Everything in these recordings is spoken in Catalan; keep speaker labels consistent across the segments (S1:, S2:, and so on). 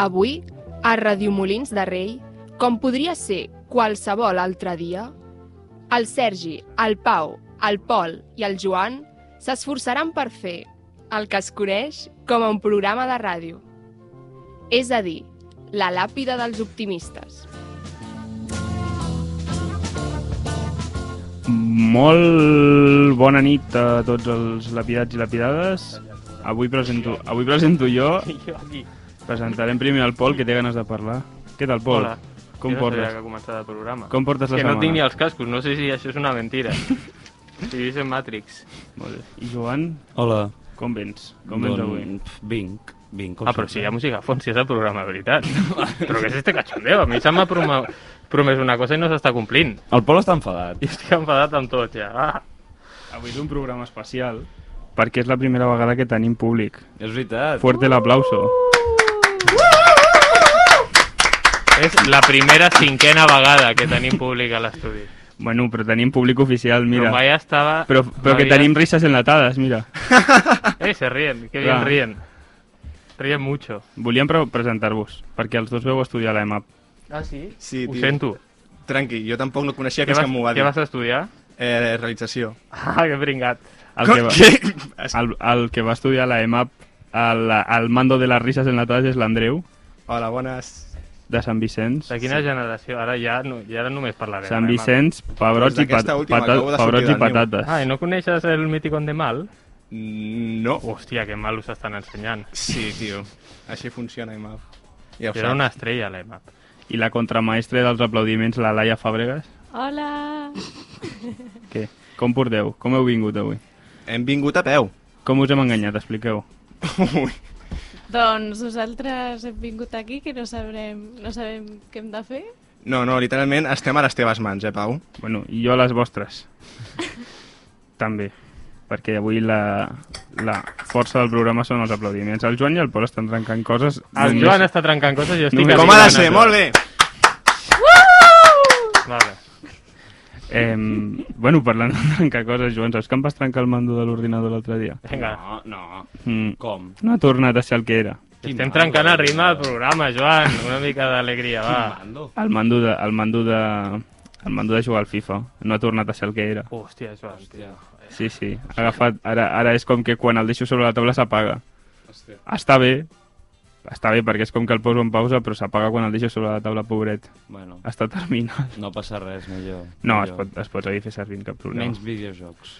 S1: Avui, a Radiomolins de Rei, com podria ser qualsevol altre dia, el Sergi, el Pau, el Pol i el Joan s'esforçaran per fer el que es coneix com a un programa de ràdio. És a dir, la làpida dels optimistes.
S2: Molt bona nit a tots els lapidats i lapidades. Avui presento, avui presento jo.
S3: Jo aquí.
S2: Presentarem primer el Pol, que té ganes de parlar. Què tal, Pol?
S3: Hola.
S2: Com
S3: jo no sabia
S2: portes?
S3: que començava el programa.
S2: Com portes la
S3: És que no
S2: setmana?
S3: tinc ni els cascos, no sé si això és una mentira. Vivís en Matrix.
S2: Molt bé. I Joan,
S4: Hola.
S2: com vens? Com vens avui?
S4: Pf, vinc, vinc. Com
S3: Ah, però
S2: eh?
S3: si hi ha música a fons, si és el programa, de veritat. però què és este cachondeo? A mi se m'ha promo- promès una cosa i no s'està complint.
S4: El Pol està enfadat.
S3: I estic enfadat amb tot, ja. Ah.
S2: Avui és un programa especial perquè és la primera vegada que tenim públic.
S4: És veritat.
S2: Fuerte l'aplauso.
S3: És la primera cinquena vegada que tenim públic a l'estudi.
S2: Bueno, però tenim públic oficial,
S3: Però
S2: mira.
S3: mai estava...
S2: Però, però que
S3: mai-
S2: tenim risses enlatades, mira.
S3: Eh, se rien, que
S2: Clar.
S3: bien rien. Rien mucho.
S2: Volíem pre- presentar-vos, perquè els dos veu estudiar a l'EMAP.
S3: Ah, sí?
S5: Sí,
S3: Ho
S5: tio.
S3: sento.
S5: Tranqui, jo tampoc no coneixia
S3: Què
S5: fins que
S3: vas,
S5: m'ho va
S3: què
S5: dir.
S3: vas estudiar?
S5: Eh, realització.
S3: Ah, que bringat.
S2: El que va,
S5: Què?
S2: el, el que va estudiar a l'EMAP al, al mando de les risses enlatades és l'Andreu,
S5: Hola, bones.
S2: de Sant Vicenç.
S3: De quina generació? Ara ja, no, ja ara només parlarem.
S2: Sant
S3: eh,
S2: Vicenç, pebrots i,
S5: Doncs
S2: pat
S5: d'aquesta última,
S2: pata
S5: acabo de
S2: pebrots
S5: sortir
S2: i
S5: del niu.
S2: patates.
S3: Marc. Ah, i no coneixes el míticon de mal?
S5: Mm, No.
S3: Hòstia, que mal us estan ensenyant.
S5: Sí, tio. Així funciona, Imaf. Ja ho
S3: Era
S5: saps.
S3: una estrella, l'EMAP.
S2: I la contramaestre dels aplaudiments, la Laia Fàbregas.
S6: Hola!
S2: Què? Com porteu? Com heu vingut avui?
S5: Hem vingut a peu.
S2: Com us hem enganyat? Expliqueu.
S5: Ui.
S6: Doncs nosaltres hem vingut aquí que no sabrem, no sabem què hem de fer.
S5: No, no, literalment estem a les teves mans, eh, Pau?
S2: Bueno, i jo a les vostres. També. Perquè avui la, la força del programa són els aplaudiments. El Joan i el Pol estan trencant coses.
S3: El
S2: només-
S3: Ah, Joan està trencant coses i jo estic...
S2: Només-
S5: Com ha de
S3: arribant
S5: ser,
S3: a-
S5: molt bé!
S3: Vale.
S2: Em, bueno, parlant de trencar coses, Joan, saps que em vas trencar el mando de l'ordinador l'altre dia?
S3: Vinga.
S4: No, no.
S2: Mm.
S4: Com?
S2: No ha tornat a ser el que era.
S3: Estem trencant
S2: eh?
S3: el ritme del programa, Joan. Una mica d'alegria, va.
S4: Mando.
S2: El mando de, el mando de, el mando de jugar al FIFA. No ha tornat a ser el que era.
S3: Hòstia, Joan. Hòstia.
S2: Sí, sí. Ha agafat... Ara, ara és com que quan el deixo sobre la taula s'apaga.
S4: Hòstia.
S2: Està bé. Està bé perquè és com que el poso en pausa, però s'apaga quan el deixo sobre la taula, pobret.
S4: Bueno,
S2: Està terminat.
S4: no passa res, millor.
S2: No, es
S4: millor.
S2: pot, es pot seguir fer servir, cap problema.
S4: Menys videojocs.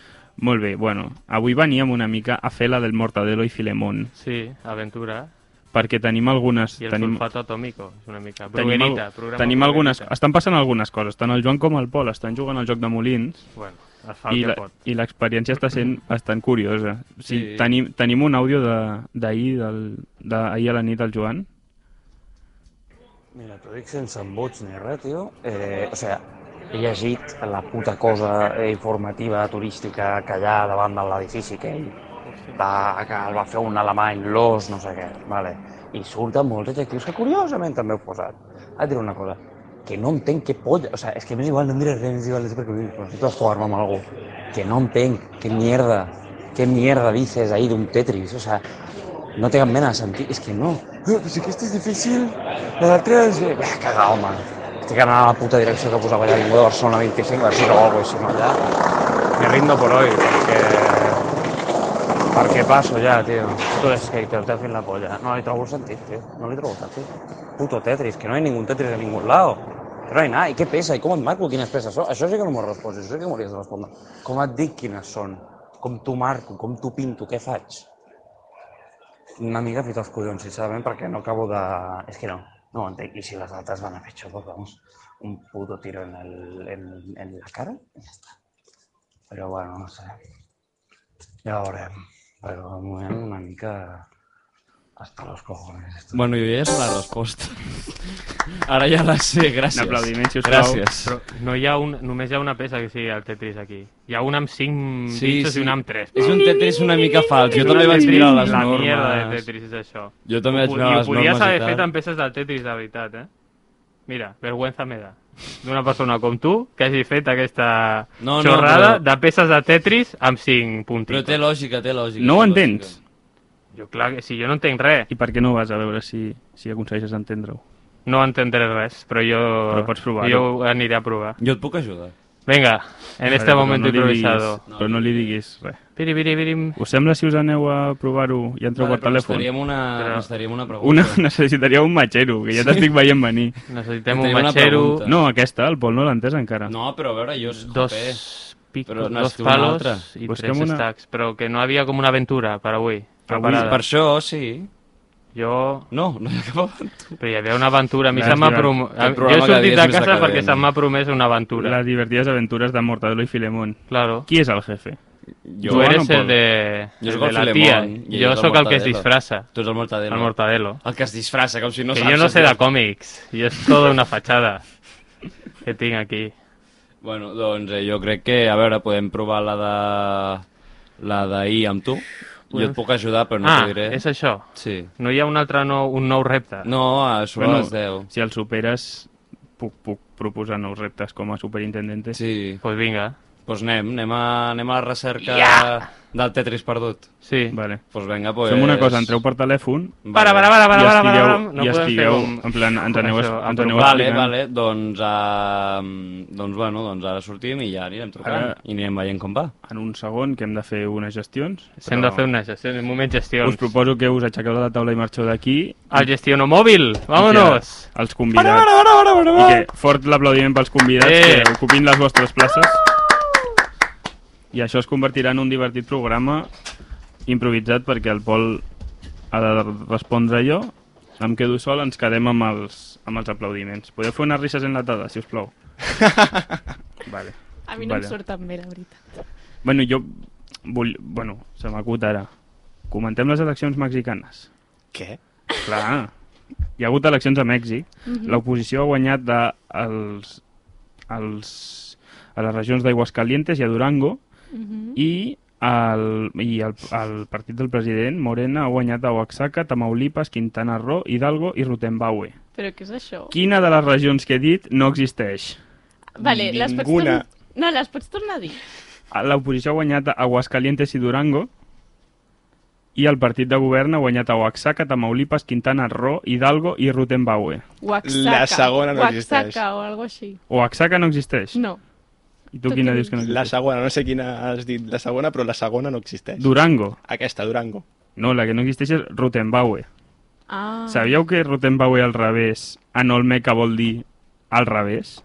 S2: Molt bé, bueno, avui veníem una mica a fer la del Mortadelo i Filemón,
S3: Sí, aventura.
S2: perquè tenim algunes...
S3: I el
S2: tenim...
S3: sulfato atómico. És una mica...
S2: Tenim, al...
S3: Bruguerita. programa
S2: tenim algunes...
S3: Bruguerita.
S2: Estan passant algunes coses. Tant el Joan com el Pol estan jugant al joc de molins
S3: Bueno, es fa el
S2: i
S3: que
S2: la-
S3: pot.
S2: i l'experiència està sent bastant curiosa. O sigui,
S4: Sí.
S2: tenim, tenim un àudio de- d'ahir del- d'ahir a la nit del Joan.
S7: Mira, t'ho dic sense embuts ni res, tio. Eh, o sigui, he llegit la puta cosa eh, informativa turística que hi ha davant de l'edifici que ell va, que el va fer un alemany, l'os, no sé què, vale? i surten molts adjectius que curiosament també heu posat. Ah, et diré una cosa, que no entenc què polla, o sigui, és que m'és igual, no em diré res, m'és igual, és perquè vull dir, però necessito jugar-me amb algú, que no entenc, que mierda, que mierda dices ahí d'un Tetris, o sigui, no té cap mena de sentit, és que no. Eh, Pues aquesta és difícil, la d'altra és... Eh, cagar, home. Estic anant a la puta direcció que posava allà, vingut de Barcelona 25, a veure si trobo alguna cosa, si no allà... Me rindo por hoy, perquè... Perquè passo ja, tio. Tu skater, t'ha fet la polla. No li trobo el sentit, tio. No li trobo el sentit. Puto Tetris, que no hi ha ningú Tetris a ningú lado. Que no hi ha nada. I què pesa? I com et marco quines peces són? Això sí que no m'ho respons, això sí que m'hauries de respondre. Com et dic quines són? Com t'ho marco? Com t'ho pinto? Què faig? una mica fet els collons, sincerament, perquè no acabo de... És que no, no ho entenc. I si les altres van a pitjor, doncs vamos, un puto tiro en, el, en, en la cara i ja està. Però bueno, no sé. Ja ho veurem. Però de moment una mica... Hasta los cojones. esto.
S4: Bueno, jo ja és la resposta. Ara ja la sé, gràcies.
S2: Un aplaudiment, sisplau.
S4: Gràcies.
S3: Però no hi ha un, només hi ha una peça que sigui el Tetris aquí. Hi ha una amb 5 sí, pinxos sí. i una amb 3.
S4: És un Tetris una mica fals. Jo
S3: És
S4: també
S3: un
S4: vaig
S3: Tetris,
S4: mirar les
S3: la
S4: normes.
S3: mierda de Tetris és això.
S4: Jo també vaig
S3: Ho- I
S4: mirar
S3: ho
S4: les
S3: podries
S4: normes
S3: haver
S4: i
S3: fet
S4: tal.
S3: amb peces del Tetris, de veritat, eh? Mira, vergüenza me da. D'una persona com tu, que hagi fet aquesta
S4: No, no,
S3: xorrada
S4: però-
S3: de peces de Tetris amb 5
S4: Però
S3: puntitos.
S4: té lògica, té lògica.
S2: No ho
S4: té
S2: entens?
S4: lògica.
S3: Jo, clar, que si jo no entenc res,
S2: I per què no vas a veure si, si aconsegueixes entendre-ho?
S3: no entendré res, però jo,
S2: Però pots provar-ho.
S3: jo ho aniré a provar.
S4: Jo et puc ajudar.
S3: Vinga, en este
S2: Però
S3: momento
S2: no li diguis-
S3: improvisado.
S2: Però no li diguis res.
S3: Piri, piri, pirim.
S2: Us sembla si us aneu a provar-ho i entreu per telèfon?
S4: Necessitaríem una,
S3: Però-
S4: necessitaríem una pregunta.
S2: Una, necessitaria un matxero, que ja t'estic veient venir.
S3: Necessitem un
S4: Tenim una
S3: matxero,
S4: pregunta.
S2: No, aquesta, el Pol no l'ha entès encara.
S4: No, però a veure, jo és jope.
S3: Ah. dos picos,
S4: Però
S3: dos
S4: necessito una
S3: palos
S4: altra.
S3: i
S2: Busquem
S3: tres
S2: Pues una-
S3: stacks, però que no havia com una aventura per avui.
S4: Avui,
S3: Preparada.
S4: per això, sí.
S3: Jo...
S4: No, no he acabat.
S3: Però hi havia una aventura, a mi
S2: L'has
S3: se m'ha
S2: lligat.
S3: prom... Jo
S4: El
S3: he
S4: programa cada dia
S3: sortit
S4: és
S3: de
S4: més
S3: casa
S4: decadent.
S3: perquè se m'ha promès una aventura.
S2: Les divertides aventures de Mortadelo i Filemón.
S3: Claro.
S2: Qui és el jefe?
S4: Jo,
S3: tu
S2: Joan
S3: eres
S2: o Pol?
S3: el de,
S4: Jo
S3: el
S4: sóc
S3: de
S4: el
S3: la tía.
S4: Filemón
S3: Jo
S4: i ell és el
S3: sóc el que es
S4: Mortadelo.
S3: disfraza,
S4: Tu ets el mortadelo.
S3: el mortadelo.
S4: El que es disfraça, com si no
S3: que
S4: saps.
S3: jo no sé
S4: tio.
S3: de còmics, i és toda una fatxada que tinc aquí.
S4: Bueno, doncs eh, jo crec que, a veure, podem provar la de... la d'ahir amb tu. Jo et puc ajudar, però no
S3: ah,
S4: t'ho diré.
S3: és això.
S4: Sí.
S3: No hi ha un altre nou, un nou repte.
S4: No, a sobre bueno, les 10.
S2: si el superes, puc, puc proposar nous reptes com a superintendente.
S4: Sí.
S3: Pues vinga.
S4: Doncs anem, anem a, anem a la recerca yeah. del Tetris perdut.
S3: Sí.
S2: Vale.
S4: Doncs pues vinga,
S2: Pues...
S4: pues...
S2: Fem una cosa, entreu per telèfon
S3: Para, para, para, para,
S2: i
S3: para,
S2: estigueu,
S3: para, para. No
S2: i
S3: podem fer
S2: estigueu
S3: com-
S2: en plan, ens aneu,
S3: això,
S2: ens aneu
S4: Vale,
S2: explicant.
S4: vale, doncs, uh, doncs, bueno, doncs ara sortim i ja anirem trucant.
S2: Ara-
S4: I anirem veient com va.
S2: En un segon, que hem de fer unes gestions.
S3: S'hem de fer una gestió, un moment gestions.
S2: Us proposo que us aixequeu de la taula i marxeu d'aquí.
S3: El gestiono mòbil, vámonos!
S2: I que Els convidats. Para, para, para, para, para. I que fort l'aplaudiment pels convidats
S3: Eh.
S2: eh. que ocupin les vostres places. I això es convertirà en un divertit programa improvisat perquè el Pol ha de respondre jo. Em quedo sol, ens quedem amb els, amb els aplaudiments. Podeu fer unes risses enlatades, si us plau? vale.
S6: A mi no
S2: Vale.
S6: em surt tan bé, la veritat.
S2: Bueno, jo vull... Bueno, se m'acut ara. Comentem les eleccions mexicanes.
S5: Què?
S2: Clar. Hi ha hagut eleccions a Mèxic. L'oposició ha guanyat de els, els, a les regions d'Aiguascalientes i a Durango i el, i el, el partit del president Morena ha guanyat a Oaxaca, Tamaulipas, Quintana Roo, Hidalgo i Rutenbaue.
S6: Però què és això?
S2: Quina de les regions que he dit no existeix?
S6: Vale, les pots
S5: Ninguna.
S6: tornar... No, les pots tornar a dir.
S2: L'oposició ha guanyat a Aguascalientes i Durango i el partit de govern ha guanyat a Oaxaca, Tamaulipas, Quintana Roo, Hidalgo i Rutenbaue.
S6: Oaxaca.
S5: La segona no
S6: Oaxaca
S5: existeix.
S6: o alguna així.
S2: Oaxaca no existeix?
S6: No.
S2: I tu
S6: Tu
S2: quina
S6: què
S2: dius que no
S5: La
S2: existeix?
S5: segona, no sé quina has dit, la segona, però la segona no existeix.
S2: Durango.
S5: Aquesta, Durango.
S2: No, la que no existeix és Rutenbaue.
S6: Ah.
S2: Sabíeu que Rutenbaue al revés en Olmeca vol dir al revés?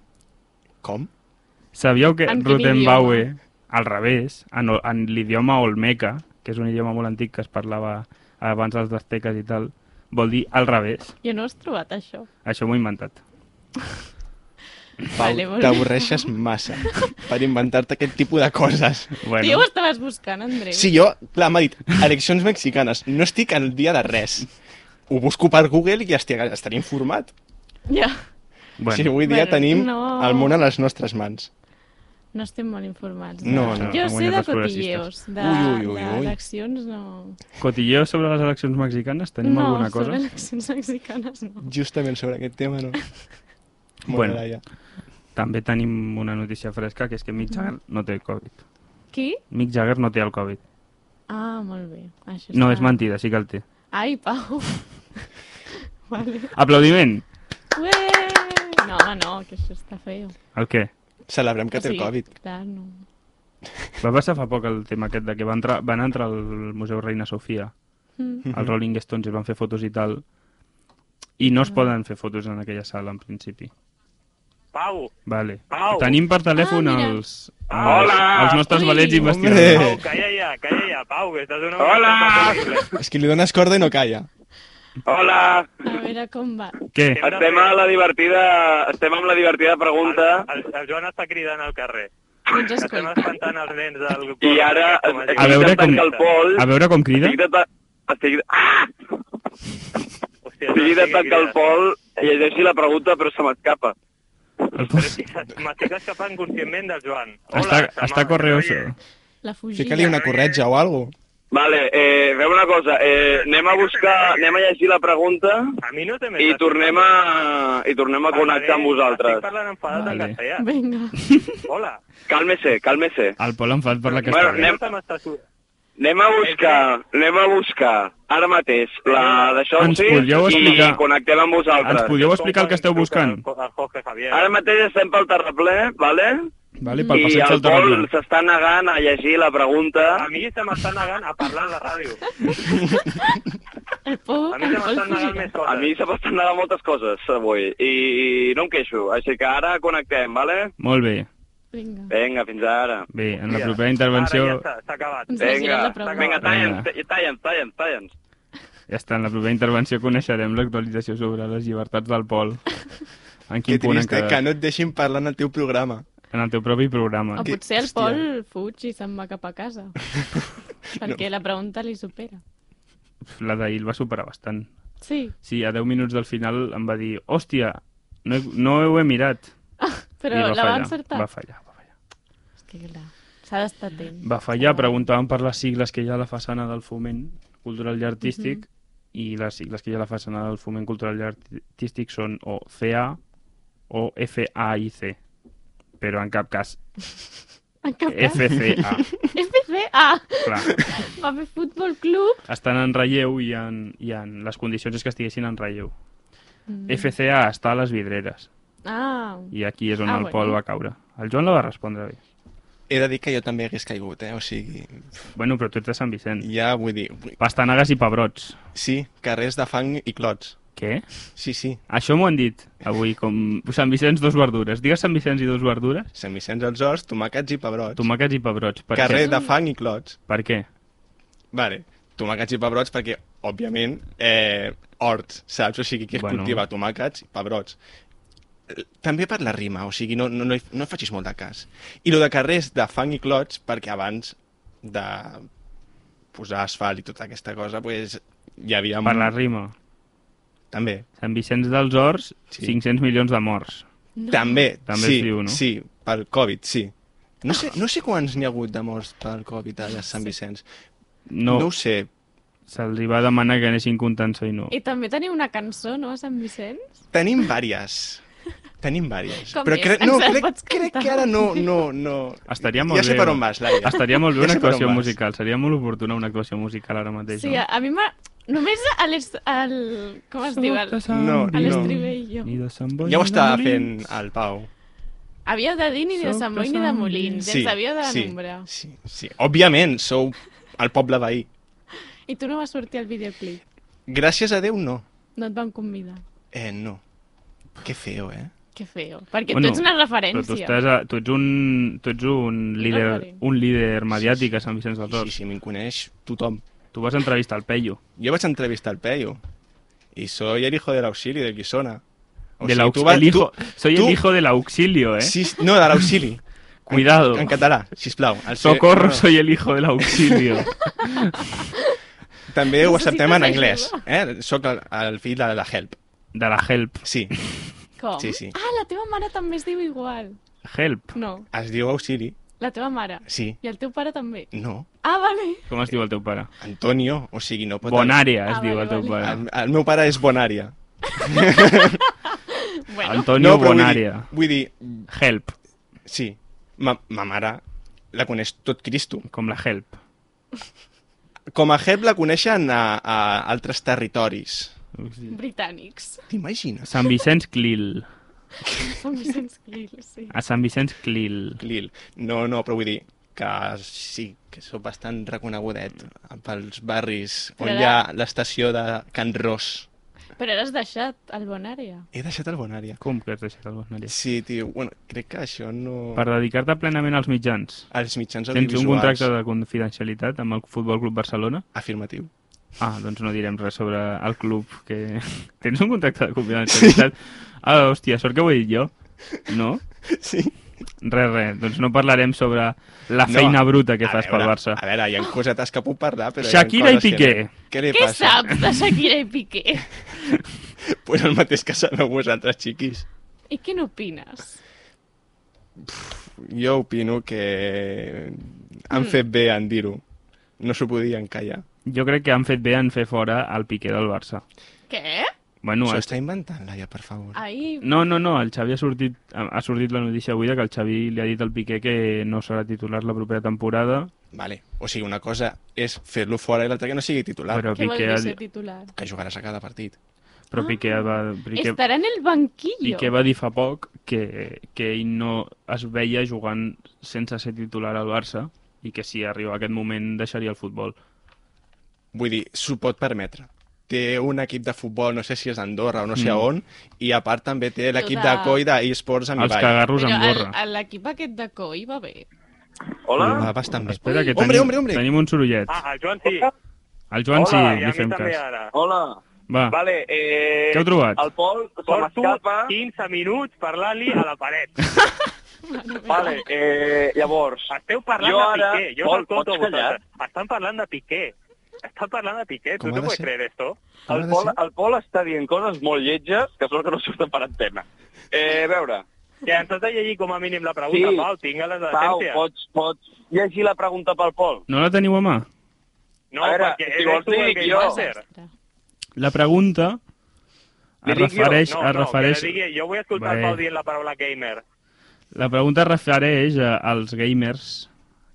S5: Com?
S2: Sabíeu que
S6: En quin
S2: Rutenbaue
S6: idioma?
S2: al revés, en, o- en l'idioma Olmeca, que és un idioma molt antic que es parlava abans dels azteques i tal, vol dir al revés.
S6: Jo no has trobat això.
S2: Això m'ho he inventat.
S5: Pau,
S6: Vale, molt bé.
S5: t'avorreixes massa per inventar-te aquest tipus de coses.
S6: Bueno. Tu ja ho
S2: Bueno,
S6: estaves buscant, Andreu.
S5: Si jo, clar, m'ha dit, eleccions mexicanes, no estic al dia de res. Ho busco per Google i estic, estaré informat.
S6: Ja.
S5: Bueno, o sigui,
S2: bueno.
S5: avui dia
S6: Bueno,
S5: tenim
S6: no.
S5: el món a les nostres mans.
S6: No estem molt informats.
S5: No, no,
S6: Jo
S2: han
S6: sé
S2: guanyat
S6: de
S2: els
S6: cotilleos, de,
S5: Ui, ui, ui, ui.
S6: d'eleccions no...
S2: cotilleu sobre les eleccions mexicanes? Tenim
S6: no,
S2: alguna
S6: sobre
S2: cosa?
S6: eleccions mexicanes no.
S5: Justament sobre aquest tema, no? Molt
S2: Bueno.
S5: bé, Laia.
S2: També tenim una notícia fresca, que és que Mick Jagger no té Covid.
S6: Qui?
S2: Mick Jagger no té el Covid.
S6: Ah, molt bé. Això
S2: No,
S6: està-
S2: és mentida, sí que el té.
S6: Ai, Pau. vale.
S2: Aplaudiment!
S6: Ué! No, no, que això està feo.
S2: El què?
S5: Celebrem que té el Covid.
S6: Clar, no.
S2: Va passar fa poc el tema aquest de que va entrar, van entrar al Museu Reina Sofia,
S6: Mm.
S5: Mhm.
S2: els Rolling Stones, i van fer fotos i tal, i no es
S6: Ah.
S2: poden fer fotos en aquella sala, en principi.
S8: Pau,
S2: Vale.
S8: Pau.
S2: Tenim per telèfon
S6: Ah, mira.
S2: els, els,
S8: Hola.
S2: els nostres
S6: Ui.
S2: valets
S5: Hombre.
S2: investigadors.
S8: Pau, calla ya, calla ya, Pau, que estás de una
S3: Hola.
S8: manera terrible.
S5: És que li dones corda i no calla.
S8: Hola.
S6: A veure com va.
S2: Què?
S9: Estem a la divertida, estem amb la divertida
S8: El,
S9: pregunta
S8: el, el Joan està cridant al carrer.
S6: Doncs
S8: Estem
S6: escolta.
S8: espantant els nens del...
S9: i ara estic
S2: A veure
S9: intentant
S2: com-
S9: que el Pol...
S2: A veure com crida.
S9: Estic de... Estic, ah,
S8: Hòstia,
S9: estic
S8: Joan,
S9: intentant que el
S8: crida.
S9: Pol llegeixi la pregunta però se m'escapa.
S2: El
S8: Però
S2: post...
S8: estic- M'estic escapant conscientment del Joan.
S2: està,
S8: Samara,
S2: està correoso.
S8: oye.
S6: La fugida.
S5: Fica-li una corretja o alguna cosa.
S9: Vale, eh, fem una cosa, eh, anem a buscar, anem a llegir la pregunta
S8: A mi no te
S9: i
S8: metes.
S9: tornem a, i tornem a connectar amb
S8: Estic
S9: vosaltres.
S8: parlant enfadat en
S2: Vale.
S8: castellà.
S6: Vinga.
S8: Hola.
S9: Cálmese, cálmese.
S2: El Pol enfat Ah, per la
S9: Bueno,
S2: castellana.
S9: anem-
S8: M'està su-
S9: Anem a buscar, anem a buscar ara mateix la d'això
S2: Ens
S9: sí,
S2: podríeu
S9: i
S2: explicar-
S9: connectem amb
S2: Ens
S9: vosaltres.
S2: podríeu explicar el que esteu buscant?
S8: El Jorge Javier.
S9: Ara mateix estem pel terraplè, vale?
S2: Vale, pel
S9: I
S2: passeig
S9: el Pol
S2: del Tarragona.
S9: s'està negant a llegir la pregunta.
S8: A mi se m'està negant a parlar a la ràdio.
S6: El Pou,
S8: A mi
S6: el
S8: se
S6: Pol
S8: m'estan negant
S6: fugirà.
S8: més coses.
S9: A mi se m'estan negant moltes coses avui i, i no em queixo, així que ara connectem, vale?
S2: Molt bé.
S5: Eh,
S6: Vinga.
S9: Vinga, fins ara.
S2: Bé, en la
S8: Mira,
S2: propera intervenció...
S8: Ara ja està, s'ha acabat.
S6: Ens
S9: Vinga,
S6: llegiràs la pregunta.
S9: vinga, talla'ns,
S2: Vinga.
S9: talla'ns, talla'ns, talla'ns.
S2: Ja està, en la propera intervenció coneixerem l'actualització sobre les llibertats del Pol. En quin
S5: Que
S2: punt han
S5: trist, eh?
S2: quedat?
S5: que no et deixin parlar en el teu programa.
S2: En el teu propi programa.
S6: O
S5: Que-
S6: Ah, potser el
S5: hòstia.
S6: Pol fuig i se'n va cap a casa. perquè la pregunta li supera.
S2: La d'ahir el va superar bastant.
S6: Sí,
S2: Sí, a 10 minuts del final em va dir hòstia, no he, no ho he mirat. I
S6: però
S2: va
S6: la va
S2: fallar,
S6: encertar.
S2: Va fallar, va fallar.
S6: És que clar, s'ha d'estar atent.
S2: Va fallar, preguntàvem per les sigles que hi ha a la façana del foment cultural i artístic i les sigles que hi ha a la façana del foment cultural i artístic són o CA o FAIC, però en cap cas
S6: En cap cas.
S2: FCA.
S6: FCA!
S2: Clar.
S6: Va fer futbol club.
S2: estan en relleu i en, i en les condicions és que estiguessin en relleu. FCA està a les vidreres
S6: Ah,
S2: i aquí és on
S6: Ah,
S2: el
S6: bueno.
S2: Pol va caure. El Joan la va respondre bé.
S5: He de dir que jo també hagués caigut, eh? O sigui,
S2: Bueno, però tu ets de Sant Vicent.
S5: ja vull dir... vull-
S2: Pastanagues i pebrots.
S5: Sí, carrers de fang i clots.
S2: Què?
S5: Sí, sí.
S2: Això m'ho han dit avui, com Sant Vicenç, dos verdures. Digues Sant Vicenç i dos verdures,
S5: Sant Vicenç dels Horts, tomàquets i pebrots.
S2: tomàquets i pebrots. Per
S5: Carrer
S2: què?
S5: de fang i clots.
S2: Per què?
S5: Vale, tomàquets i pebrots perquè, òbviament, eh, hort, saps? O sigui, que es
S2: Bueno.
S5: bueno. cultiva tomàquets i pebrots. Eh, També per la rima, o sigui, no, no, no, hi- no hi facis molt de cas. I lo de carrers de fang i clots, perquè abans de posar asfalt i tota aquesta cosa, pues, hi havia...
S2: Per la rima.
S5: També.
S2: Sant Vicenç dels Horts,
S5: Sí.
S2: 500 milions de morts.
S5: No. També,
S2: També
S5: sí,
S2: es diu, no?
S5: sí, pel Covid, sí. No sé, no sé quants n'hi ha hagut de morts pel Covid allà a Sant Vicenç.
S2: No,
S5: no
S2: no
S5: ho sé,
S2: se'ls hi va demanar que anessin comptant-se i no.
S6: i també teniu una cançó, no, a Sant Vicenç?
S5: Tenim vàries. Tenim vàries.
S6: Com
S5: Però
S6: és?
S5: crec,
S6: Ens
S5: no,
S6: les
S5: crec,
S6: pots
S5: crec
S6: cantar?
S5: que ara no... no, no...
S2: Estaria molt
S5: ja sé
S2: bé.
S5: per on vas, Laia.
S2: Estaria molt bé
S5: Ja
S2: una
S5: sé per on
S2: actuació
S5: vas.
S2: musical, seria molt oportuna una actuació musical ara mateix.
S6: Sí, a, a mi m'ha... Només a les... Al... Com es diu? Al...
S5: No,
S6: A
S5: no.
S6: l'estribillo.
S5: Ja ho estava fent el Pau.
S6: Havíeu de dir ni de Sant Boi ni de Molins.
S5: Sí,
S6: Ens havíeu de
S5: sí,
S6: nombrar.
S5: sí, sí. Òbviament, sou el poble veí.
S6: I tu no vas sortir al videoclip.
S5: Gràcies a Déu, no.
S6: No et van convidar.
S5: Eh, no. Que feo, eh?
S6: Que feo. Perquè
S2: Bueno,
S6: tu ets una
S2: Però tu,
S6: referència.
S2: estàs a, tu ets un, tu ets un líder,
S6: referent.
S2: un líder mediàtic a Sant Vicenç dels
S5: Sí,
S2: Horts.
S5: sí, me'n coneix tothom.
S2: Tu vas entrevistar el Peyu.
S5: Jo vaig entrevistar el Peyu. I soy el hijo de l'auxili, de qui sona. O
S2: de
S5: sigui,
S2: l'aux-
S5: tu vas-
S2: el hijo,
S5: tu-
S2: soy
S5: tu-
S2: el hijo de l'auxilio, eh?
S5: Sí, no, de l'auxili.
S2: Cuidado.
S5: En, en català, sisplau. El seu-
S2: Socorro,
S5: no.
S2: soy el hijo de l'auxilio.
S5: També ho acceptem en anglès.
S6: Necessites
S5: Eh? Soc el, el fill de la Help.
S2: De la help.
S5: Sí,
S6: Com?
S5: Sí, sí.
S6: Ah, la teva mare també es diu igual.
S2: Help.
S6: No,
S5: es diu Auxili.
S6: la teva mare.
S5: Sí.
S6: I el teu pare també.
S5: No,
S6: Ah, vale.
S2: Com es diu el teu pare?
S5: Antonio, o sigui, no pot...
S2: Bonària, es
S6: Ah,
S2: diu
S6: vale,
S2: el teu
S6: vale.
S2: pare.
S5: El, el meu pare és Bonària.
S6: Bueno,
S2: Antonio
S5: però
S2: Bonària.
S5: Vull dir, vull dir
S2: Help,
S5: sí, ma, ma mare la coneix tot Cristo.
S2: com la help.
S5: Com a Help la coneixen a, a altres territoris.
S6: britànics.
S5: T'imagines?
S2: Sant Vicenç Clil.
S6: Són Vicenç Clil, sí.
S2: A Sant Vicenç Clil.
S5: Lil. No, no, però vull dir que sí, que sóc bastant reconegudet pels barris on
S6: Però
S5: hi ha l'estació de Can Ros.
S6: Però ara has deixat el Bonària.
S5: He deixat el Bonària.
S2: Com que has deixat el Bonària?
S5: Sí, tio, bueno, crec que això no...
S2: Per dedicar-te plenament als mitjans.
S5: Als mitjans
S2: Tens
S5: audiovisuals.
S2: un contracte de confidencialitat amb el Futbol Club Barcelona?
S5: Afirmatiu.
S2: Ah, doncs no direm res sobre el club que... Tens un contracte de confidencialitat? Ah, hòstia, sort que ho he dit jo. No?
S5: Sí.
S2: Res, res. Doncs no parlarem sobre la
S5: No,
S2: feina bruta que
S5: A
S2: fas
S5: veure,
S2: pel Barça.
S5: A veure, hi ha cosetes que puc parlar, però... hi ha
S2: Shakira i
S5: coses que
S2: Piqué.
S5: no. Què li
S6: Què
S5: passa?
S6: saps de Shakira i Piqué?
S5: Pues el mateix que sabeu vosaltres, xiquis.
S6: I què n'opines?
S5: Jo opino que han fet bé en dir-ho. No s'ho podien callar.
S2: Jo crec que han fet bé en fer fora el Piqué del Barça.
S6: Què?
S2: Bueno,
S5: S'ho
S2: el...
S5: està inventant, Laia, per favor.
S6: Ahir...
S2: No, no, no, el Xavi ha sortit, ha ha sortit la notícia avui de que el Xavi li ha dit al Piqué que no serà titular la propera temporada
S5: Vale. O sigui, una cosa és fer-lo fora i l'altra que no sigui titular,
S2: Però
S6: Què vol
S2: Piqué,
S6: dir
S2: ha
S6: ser
S2: di-
S6: titular?
S5: que jugaràs a cada partit.
S2: però
S6: Ah.
S2: Piqué, va, Piqué,
S6: Estarà en el banquillo.
S2: Piqué va dir fa poc que, que ell no es veia jugant sense ser titular al Barça i que si arriba aquest moment deixaria el futbol.
S5: Vull dir, s'ho pot permetre. Té un equip de futbol, no sé si és a Andorra o no sé
S2: Mm.
S5: a on, i a part també té l'equip de
S6: Tota-
S5: coi d'eSports a
S2: Els
S5: Mibai.
S2: cagarros
S8: eh,
S2: amb gorra.
S6: Però el- l'equip aquest de coi va bé.
S8: Hola?
S5: Va bastant bé.
S2: Espera, que
S5: Hombre,
S2: tenim,
S5: hombre, hombre.
S2: tenim un sorollet.
S8: Ah, el Joan sí.
S2: Al Joan sí,
S8: Hola, i a
S2: li
S8: mi
S2: fem
S8: també
S2: cas.
S8: ara.
S9: Hola.
S2: Va,
S9: Vale, eh...
S2: Què heu trobat?
S9: El Pol se
S8: Porto
S9: m'escapa.
S8: 15 minuts parlant-li a la paret.
S9: Vale, eh... Llavors...
S8: Esteu parlant
S9: Jo
S8: de
S9: ara-
S8: Piqué. Jo
S9: Pol,
S8: us escolto a
S9: pots callar?
S8: vosaltres. Estan parlant de Piqué. Estan parlant de Piqué.
S5: Com
S8: Tu
S5: ha
S8: no
S5: de
S8: puedes
S5: ser?
S8: creer esto?
S5: ha
S9: El
S5: de
S9: Pol,
S5: ser?
S9: el Pol està dient coses molt lletges que sort que no surten per antena. Eh, a veure,
S8: Ja, ens has de llegir com a mínim la pregunta,
S9: Sí.
S8: Pau. Tinga la
S9: Pau,
S8: decència.
S9: pots, pots llegir la pregunta pel Pol?
S2: no la teniu a mà?
S8: No,
S9: A veure,
S8: perquè
S9: si
S8: eres
S9: vols
S8: tu
S9: li
S8: el
S9: dic
S8: que
S9: jo.
S8: va ser.
S2: La pregunta
S9: Li dic
S2: es
S9: jo?
S2: refereix...
S8: No,
S2: es
S8: no,
S2: refereix...
S8: que la digui, jo vull
S2: Bé.
S8: escoltar el Pau dient la paraula gamer.
S2: La pregunta es refereix a- als gamers...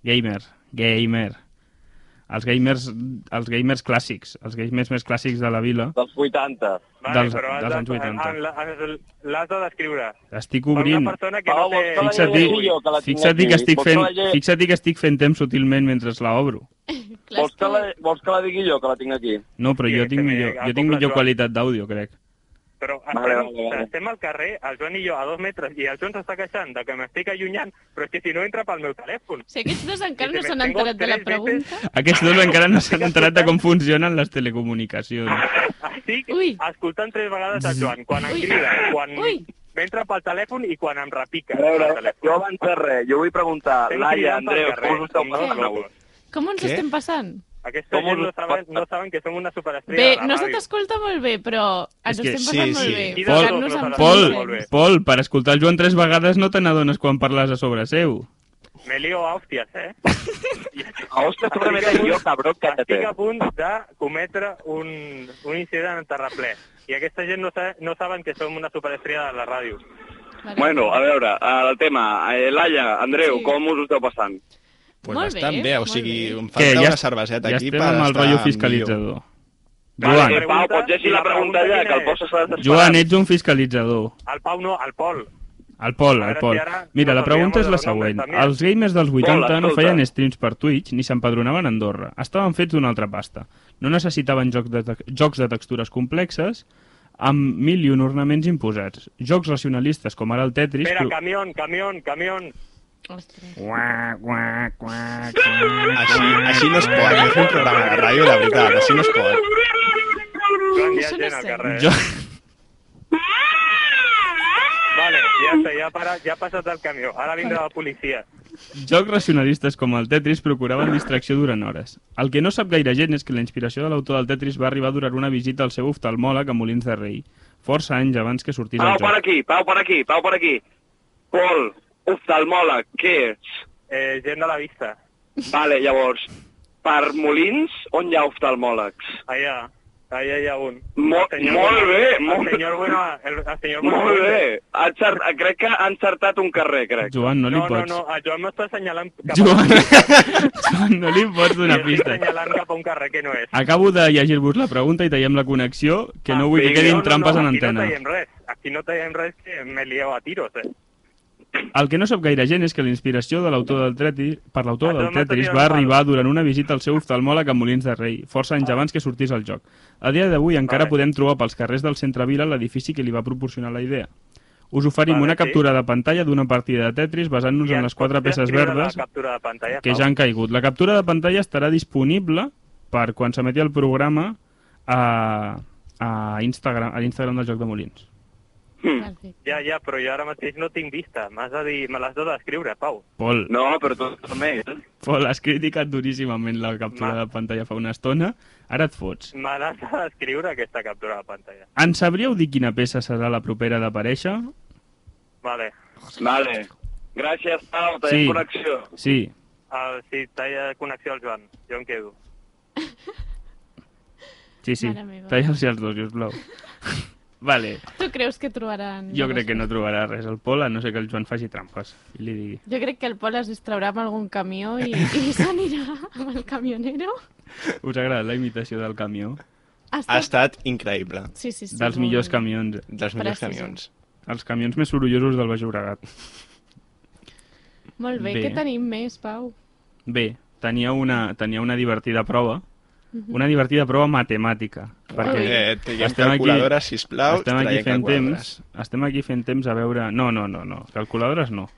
S2: Gamer, gamer. Els gamers, els gamers clàssics, els gamers més clàssics de la vila.
S9: Dels 80.
S8: Vale,
S2: Dels-
S8: però has
S2: dels
S8: de-
S2: anys 80.
S8: en la- en- L'has de descriure.
S2: Estic
S8: Per una
S2: obrint...
S8: persona que
S9: Pau,
S8: no
S9: vols que la
S8: té...
S2: Fixa't,
S9: llegeixi
S2: dir-
S9: jo, que la tinc
S2: fixa't dir
S9: aquí?
S2: que estic
S9: Vols
S2: fent,
S9: la lle-
S2: fixa't dir que estic fent temps sutilment mentre la obro.
S6: Clar,
S9: Vols
S6: és
S9: que la, vols que la digui jo, que la tinc aquí?
S2: No, però
S8: Sí,
S2: jo
S8: que
S2: tinc
S8: me
S2: millor, jo tinc
S8: acopla
S2: millor
S8: Joan.
S2: qualitat d'àudio, crec.
S8: Però estem,
S9: Vale, vale, vale.
S8: estem al carrer, el Joan i jo, a dos metres, i el Joan s'està queixant de que m'estic allunyant, però és que si no entra pel meu telèfon.
S6: Si aquests dos encara
S8: Sí,
S6: no
S8: sí,
S6: s'han
S8: me tengo
S6: enterat de la
S8: tres
S6: pregunta...
S2: Aquests dos encara no s'han enterat de com funcionen les telecomunicacions.
S8: Estic
S6: Ui.
S8: escoltant tres vegades el Joan, quan em crida, quan
S6: Ui.
S8: m'entra pel telèfon i quan em repica.
S9: A veure,
S8: pel
S9: jo
S8: telèfon.
S9: abans de res, jo vull preguntar,
S8: Estem
S9: Laia,
S8: cridant pel
S9: Andreu,
S8: carrer,
S9: com us esteu
S8: som dos
S9: passant avui?
S8: locos.
S6: Com ens
S5: Què?
S6: estem passant?
S8: Aquesta
S9: Com us
S8: gent no
S9: esteu
S8: saben,
S9: passant?
S8: no saben que som una superestrella
S6: Bé,
S8: de la
S6: no se
S8: ràdio.
S6: t'escolta molt bé, però ens
S2: És que-
S6: estem
S5: sí,
S6: passant molt
S5: sí.
S6: bé.
S8: I
S2: Pol-
S6: Posant-nos en
S2: Pol,
S6: fila.
S8: Molt bé.
S2: Pol, per escoltar el Joan tres vegades no te n'adones quan parles a sobre seu.
S8: Me lio a hòsties, eh?
S9: A hòstia, sobre mi jo, cabró,
S8: Estic
S9: cállate.
S8: a punt de cometre un, un incident en terraplè. I aquesta gent no, sa, no saben que som una superestrella de la ràdio.
S6: Vale.
S9: Bueno, a veure, el tema. Eh, Laia, Andreu,
S6: Sí.
S9: com us ho esteu passant?
S5: Pues
S6: Molt
S5: bastant
S6: bé,
S5: bé, o
S6: molt
S5: sigui,
S6: bé.
S5: em
S2: Què,
S5: falta
S2: ja
S5: una
S2: est- ja
S5: cerveseta aquí
S2: estem
S5: per
S2: amb el
S5: estar
S2: rotllo
S5: millor.
S2: fiscalitzador.
S8: Vale,
S9: Eh,
S2: Joan,
S9: Pau, pots llegir la pregunta ja, que el Pol se s'ha desesperat.
S2: Joan, eh. ets un fiscalitzador.
S8: El Pau no, el Pol.
S2: El Pol,
S8: A
S2: el
S8: veure
S2: Pol.
S8: si ara
S2: Mira,
S8: no
S2: la pregunta
S8: canviem
S2: és la
S8: els nombres,
S2: següent.
S8: també.
S2: Els gamers dels
S9: Pol,
S2: 80 no
S9: escolta.
S2: feien streams per Twitch ni s'empadronaven a Andorra. Estaven fets d'una altra pasta. No necessitaven jocs de, te- jocs de textures complexes amb mil i un ornaments imposats. Jocs racionalistes com ara el Tetris...
S8: Espera,
S2: pro-
S8: camión, camión, camión.
S6: Ostres.
S5: Així, així no es pot, és un programa de ràdio, la veritat, així no es pot.
S8: Joan, hi ha
S6: Això no
S8: gent al
S6: sé.
S8: carrer. eh?
S2: Jo...
S8: Vale, ja està, ja, ha parat, ja ha passat el camió. Ara vindrà la policia.
S2: Jocs racionalistes com el Tetris procuraven distracció durant hores. El que no sap gaire gent és que la inspiració de l'autor del Tetris va arribar durant una visita al seu oftalmòleg a Molins de Rei, força anys abans que sortís
S9: Pau,
S8: Ah,
S2: el
S9: per
S2: joc.
S9: aquí, Pau, per aquí, Pau, per aquí. Pol, oftalmòleg, què ets?
S8: Eh, gent de la vista.
S9: Vale, llavors, per Molins, on hi ha oftalmòlegs?
S8: Allà, allà hi ha un.
S9: Mo-
S8: El senyor
S9: molt
S8: Bueno-
S9: bé,
S8: El
S9: molt-
S8: senyor Bueno, el, el senyor Bueno.
S9: Molt bé, ha encert... crec que ha encertat un carrer, crec.
S2: Joan, no li
S8: No, no,
S2: pots...
S8: no, el Joan m'està assenyalant cap
S2: Joan,
S8: a...
S2: Joan, no li pots donar
S8: Jo estic
S2: pista.
S8: assenyalant cap a un carrer que no és.
S2: Acabo de llegir-vos la pregunta i tallem la connexió, que no vull que
S9: vinga,
S2: quedin
S9: no, no,
S2: trampes en
S8: aquí
S2: antena.
S8: Ah, No tallem res. Aquí no tallem res que me lieu a tiros, eh?
S2: El que no sap gaire gent és que la inspiració de l'autor del Tetris, per l'autor del
S8: Perdó, m'ha
S2: Tetris
S8: tocat
S2: va
S8: el palo.
S2: arribar durant una visita al seu oftalmòleg a Molins de Rei, força anys abans que sortís el joc. A dia d'avui encara
S8: Ah. Vale.
S2: podem trobar pels carrers del centre Vila l'edifici que li va proporcionar la idea. Us oferim
S8: Vale,
S2: una
S8: sí.
S2: captura de pantalla d'una partida de Tetris basant-nos
S8: I
S2: en
S8: ens
S2: Doncs les quatre
S8: pots
S2: peces
S8: descriure
S2: verdes
S8: La captura de pantalla,
S2: que
S8: Pau?
S2: ja han caigut. La captura de pantalla estarà disponible per quan s'emeti el programa a, a Instagram, a l'Instagram del Joc de Molins.
S6: Perfecte.
S8: Ja, ja, però jo ara mateix no tinc vista. M'has de dir... Me l'has de descriure, Pau.
S2: Pol,
S9: No, però tot més.
S2: Pol, has criticat duríssimament la captura
S8: Ma-
S2: de pantalla fa una estona, ara et fots.
S8: Me l'has de descriure, aquesta captura de pantalla.
S2: En sabríeu dir quina peça serà la propera d'aparèixer?
S8: Vale.
S9: Vale. Gràcies, Pau, tenim
S2: Sí.
S9: connexió.
S2: Sí.
S8: El, si talla connexió al Joan, jo em quedo.
S2: Sí, sí.
S6: Mare meva.
S2: Talla'ls els dos, sisplau. Vale,
S6: Tu creus que trobaran...
S2: jo crec que no trobarà res al Pol, a no ser que el Joan faci trampes i li digui.
S6: Jo crec que el Pol es distraurà amb algun camió i, i s'anirà amb el camionero.
S2: Us ha agradat la imitació del camió?
S6: Ha
S5: Ha
S6: estat-
S5: estat increïble.
S6: Sí, sí, sí.
S2: dels
S6: molt
S2: millors
S6: bé.
S2: camions.
S5: Dels millors
S6: Precisa.
S5: camions.
S2: Els camions més sorollosos del Baix Llobregat.
S6: Molt bé,
S2: Bé.
S6: què tenim més, Pau?
S2: Bé, tenia una, tenia una divertida prova, una divertida prova matemàtica, perquè
S5: Eh, traiem
S2: estem aquí-
S5: calculadores, sisplau,
S2: estem aquí
S5: traiem
S2: fent
S5: calculadores.
S2: temps, estem aquí fent temps a veure... No, no, no, no, calculadores no.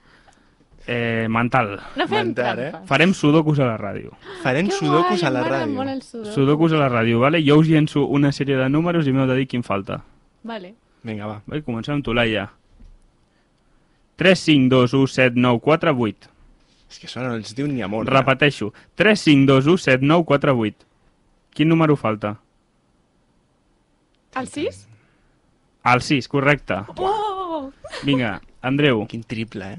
S2: Eh, mental.
S6: No fem
S5: Mental, eh?
S6: trampes.
S2: Farem sudokus a la ràdio.
S5: Farem sudokus a la
S6: Molt
S5: ràdio.
S6: el sudoku.
S2: Sudokus a la ràdio, vale? Jo us llenço una sèrie de números i m'heu de dir quin falta.
S6: Vale.
S5: Vinga, va.
S2: Vale, comencem amb tu, Laia. 3, 5, 2, 1, 7, 9, 4, 8.
S5: És que això no els diu ni amor.
S2: Repeteixo. 3, 5, 2, 1, 7, 9, 4, 8. Quin número falta?
S6: El 6?
S2: El 6, correcte.
S6: Oh!
S2: Vinga, Andreu.
S5: Quin triple, eh?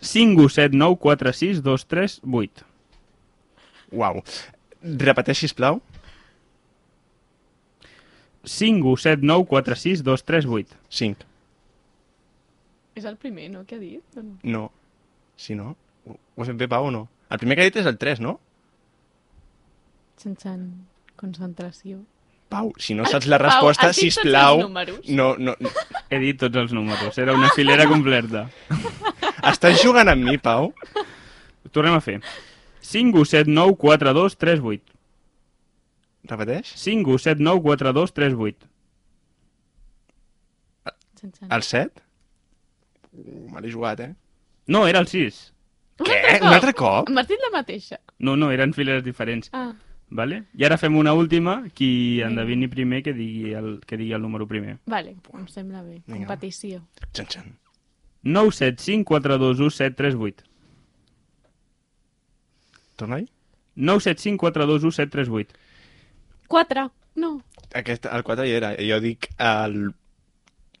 S2: 5, 1, 7, 9, 4, 6, 2, 3, 8.
S5: Uau. Repeteix, sisplau.
S2: 5, 1, 7, 9, 4, 6, 2, 3, 8.
S5: 5.
S6: És el primer, no? Què ha dit? Doncs O no?
S5: No. Si no... Ho ho he fet bé, Pau, o no? El primer que ha dit és el 3, no?
S6: Sense concentració.
S5: Pau, si no saps la resposta,
S6: has dit tots els
S5: sisplau...
S6: números?
S5: No, no, no.
S2: He dit tots els números, era una filera completa.
S5: Estàs jugant amb mi, Pau?
S2: Ho Tornem a fer. 5, 1, 7, 9, 4, 2, 3, 8.
S5: Repeteix?
S2: 5, 1, 7, 9, 4, 2, 3, 8.
S6: Sense
S5: El 7? Uh, Me l'he jugat, eh?
S2: No, era el 6.
S5: Què? Un altre cop?
S6: M'has dit la mateixa.
S2: No, no, eren fileres diferents.
S6: Ah,
S2: Vale? I ara fem una última, qui endevini primer que digui el, que digui el número primer.
S6: vale, em sembla bé.
S5: Vinga.
S6: Competició.
S5: Txan, txan.
S2: 9, 7, 5, 4, 2, 1, 7, 3, 8.
S5: Torna-hi?
S2: 9, 7, 5, 4, 2, 1, 7, 3, 8.
S6: 4. No.
S5: Aquest, el 4 hi era. Jo dic el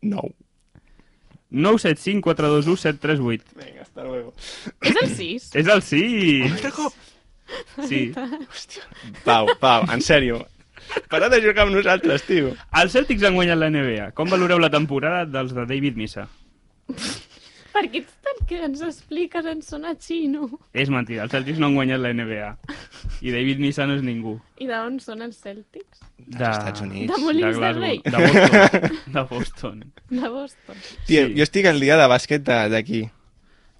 S5: 9.
S2: 9, 7, 5, 4, 2, 1, 7, 3, 8.
S5: Vinga, hasta luego.
S6: És el 6.
S2: És el sí!
S5: Un altre cop?
S2: Sí.
S5: Pau, Pau, en sèrio. Para de jugar amb nosaltres, tio.
S2: Els Celtics han guanyat la NBA. Com valoreu la temporada dels de David Missa?
S6: Per què ets tan que ens expliques en sona xino?
S2: És mentida, els Celtics no han guanyat la NBA. I David Missa no és ningú.
S6: I d'on són els Celtics?
S2: De...
S5: Dels Estats Units.
S6: De Molins de
S2: Glasgow.
S6: Rei.
S2: De Boston. De Boston.
S6: De Boston.
S5: Tio,
S2: Sí.
S5: jo estic al dia de bàsquet de- d'aquí.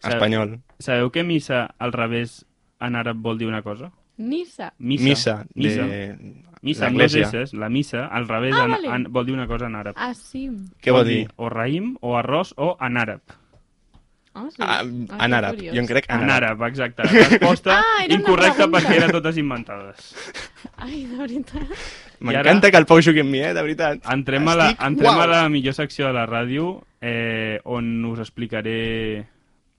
S2: Saps?
S5: Espanyol.
S2: Sabeu que Missa al revés en àrab vol dir una cosa?
S6: Nissa.
S2: Missa.
S5: Missa.
S2: Missa.
S5: De...
S2: Missa eh. amb les
S5: l'Església.
S2: S, la missa, al revés,
S6: Ah,
S2: en,
S6: vale.
S2: en, vol dir una cosa en àrab.
S6: Ah, sí.
S5: Què vol dir?
S2: O raïm, o arròs, o en àrab.
S6: Ah, sí.
S5: Ah,
S6: Ah,
S5: en
S6: que
S5: àrab.
S6: curiós.
S5: Jo en crec en
S2: En
S5: àrab.
S2: àrab, exacte. Resposta
S6: Ah, era una
S2: incorrecta
S6: pregunta.
S2: perquè eren totes inventades.
S6: Ai, de veritat.
S5: M'encanta que el Pau jugui amb mi, eh, de veritat.
S2: Entrem, a la,
S5: Estic-
S2: entrem a
S5: uau.
S2: la millor secció de la ràdio, eh, on us explicaré...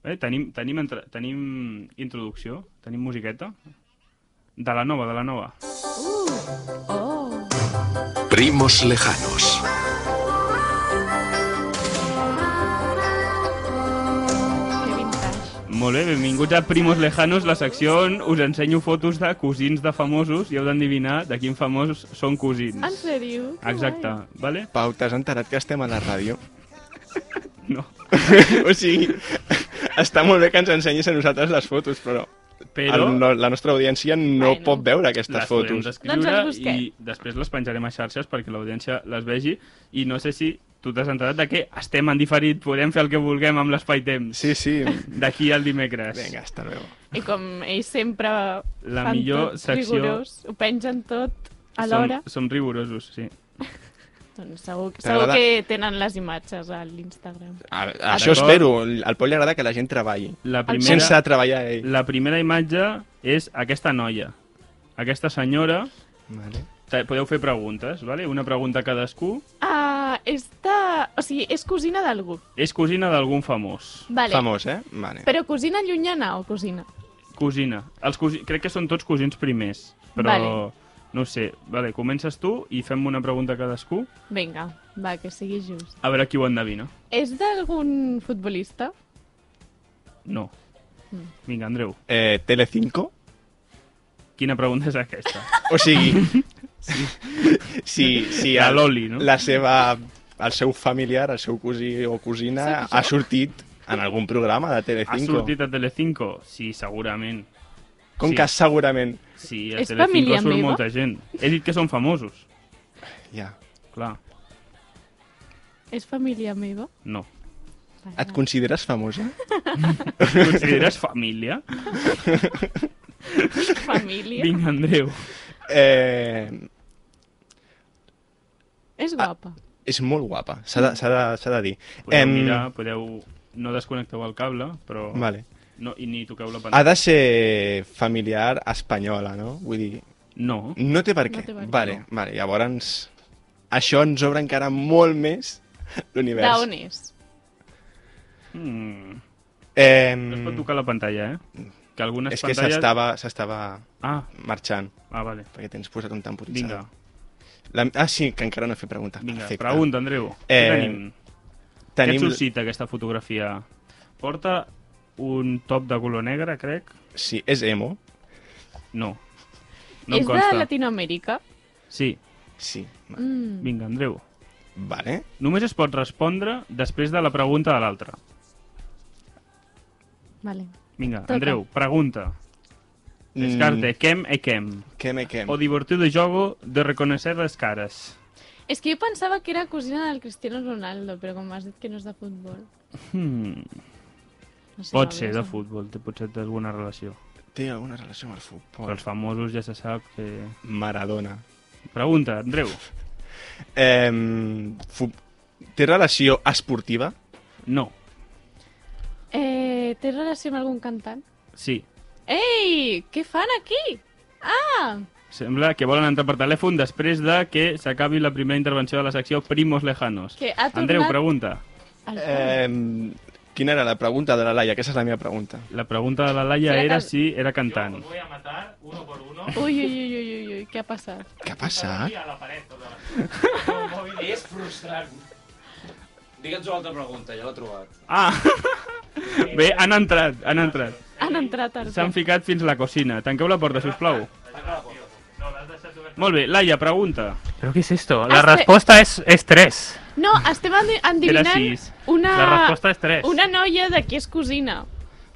S2: Eh, tenim, tenim, entre, tenim introducció, tenim musiqueta. De la nova, de la nova.
S6: Oh.
S10: Primos lejanos.
S6: Que vintage.
S2: Molt bé, benvinguts a Primos Lejanos, la secció on us ensenyo fotos de cosins de famosos i heu d'endevinar de quin famós són cosins.
S6: Ah, En sèrio? Que
S2: Exacte, vale?
S5: Pau, t'has enterat que estem a la ràdio?
S2: No.
S5: o sigui, està molt bé que ens ensenyis a nosaltres les fotos, però,
S2: Però
S5: el, no, la nostra audiència no
S6: Bueno.
S5: pot veure aquestes
S2: les podem
S5: fotos.
S2: descriure
S6: Doncs les busquem.
S2: i després les penjarem a xarxes perquè l'audiència les vegi i no sé si tu t'has enterat de que estem en diferit, podem fer el que vulguem amb l'espai-temps
S5: Sí, sí.
S2: d'aquí al dimecres.
S5: Vinga, hasta luego.
S6: guai. I com ells sempre
S2: La
S6: fan
S2: millor
S6: tot
S2: secció-
S6: rigorós, ho pengen tot a
S2: som,
S6: l'hora,
S2: som rigorosos, sí.
S6: doncs segur, segur
S5: T'agrada?
S6: que tenen les imatges a l'Instagram.
S5: A, això
S2: D'acord.
S5: espero. Al Pol li agrada que la gent treballi.
S2: La
S5: Primera...
S2: primera,
S5: Sense treballar ell.
S2: la primera imatge és aquesta noia, aquesta senyora.
S5: Vale.
S2: Te- Podeu fer preguntes, vale? una pregunta a cadascú.
S6: Ah, esta... O sigui, és cosina d'algú.
S2: És cosina d'algun famós.
S6: Vale.
S5: Famós, eh? Vale.
S6: Però cosina llunyana o cosina?
S2: Cosina. Els cosi... Crec que són tots cosins primers, però
S6: Vale.
S2: no ho sé. Vale, comences tu i fem una pregunta a cadascú.
S6: Vinga, va, que sigui just.
S2: A veure qui ho endevina.
S6: És d'algun futbolista?
S2: No.
S6: Mm.
S2: Vinga, Andreu,
S5: Eh, Telecinco?
S2: quina pregunta és aquesta?
S5: O sigui, si, si
S2: La
S5: el-
S2: Loli, no?
S5: la seva, el seu familiar, el seu cosí o cosina ha sortit en algun programa de
S2: Ha
S5: Telecinco.
S2: sortit a Telecinco? Sí, segurament.
S5: Com
S2: sí.
S5: que segurament...
S2: Sí, a
S6: És
S2: Telecinco
S6: família
S2: surt
S6: meva?
S2: molta gent. He dit que són famosos.
S5: Ja.
S2: Clar,
S6: És família meva?
S2: no.
S5: Et consideres famosa?
S2: Et consideres família?
S6: Família?
S2: Vinga, Andreu.
S5: Eh,
S6: És
S2: Ah,
S6: guapa.
S5: és molt guapa, s'ha de, s'ha de, s'ha de dir.
S2: Podeu
S5: Em,
S2: mirar, podeu... No desconnecteu el cable, però...
S5: Vale.
S2: No, I ni toqueu la pantalla.
S5: ha de ser familiar espanyola, no? Vull dir...
S2: No.
S5: No té per què.
S2: té per què.
S5: vale, vale, llavors... Això ens obre encara molt més l'univers.
S6: D'on és?
S2: Mm.
S5: Eh,
S2: No es pot tocar la pantalla, eh? Que algunes
S5: És que
S2: pantalles...
S5: s'estava s'estava
S2: Ah.
S5: marxant.
S2: Ah, vale.
S5: Perquè tens posat un
S2: Vinga,
S5: temporitzador. La... Ah, sí, que encara no he fet preguntes.
S2: vinga.
S5: Perfecte.
S2: Pregunta, Andreu. Eh... Què
S5: Eh,
S2: tenim? Tenim... Què et suscita aquesta fotografia? Porta un top de color negre, crec.
S5: Sí, és emo.
S2: No. No em
S6: és
S2: consta.
S6: de Latinoamèrica?
S2: Sí.
S5: Sí.
S6: Mm.
S2: Vinga, Andreu.
S5: Vale.
S2: Només es pot respondre després de la pregunta de l'altre.
S6: Vale.
S2: Vinga,
S6: Toca.
S2: Andreu, pregunta.
S5: Mm.
S2: Descarte, quem e quem.
S5: Quem e quem.
S2: O divertiu de jogo de reconèixer les cares.
S6: És que jo pensava que era cosina del Cristiano Ronaldo, però com m'has dit que no és de futbol.
S2: Hmm.
S6: No sé,
S2: Pot
S6: la
S2: ser
S6: veritat.
S2: de futbol, té potser té alguna relació.
S5: Té alguna relació amb el futbol.
S2: Però els famosos ja se sap que...
S5: Maradona.
S2: Pregunta, Andreu.
S5: Eh, fu... Té relació esportiva?
S2: No.
S6: Eh, té relació amb algun cantant?
S2: Sí.
S6: Ei, què fan aquí? Ah,
S2: Sembla que volen entrar per telèfon després de que s'acabi la primera intervenció de la secció Primos Lejanos.
S6: que ha tornat...
S2: Andreu, pregunta.
S6: al-
S5: Eh, quina era la pregunta de la Laia? Aquesta és la meva pregunta.
S2: La pregunta de la Laia
S6: Era
S2: era
S6: cal-
S2: si era cantant.
S6: Ui, ui, ui, ui, ui, ui, què ha passat?
S5: Què passa?
S4: És frustrant. Digue'ns una altra pregunta, ja l'ha trobat.
S2: Ah! Bé, han entrat, han entrat.
S6: Han entrat al...
S2: Eh, S'han ficat fins la cocina. Tanqueu la porta, si us plau. Molt bé, Laia, pregunta.
S3: ¿Pero qué es esto? La
S6: Hazte-
S3: respuesta es, es tres.
S6: No, estem andi-
S2: Era
S6: endivinant
S2: sis.
S6: una...
S3: La respuesta es tres.
S6: Una noia de qui és cosina.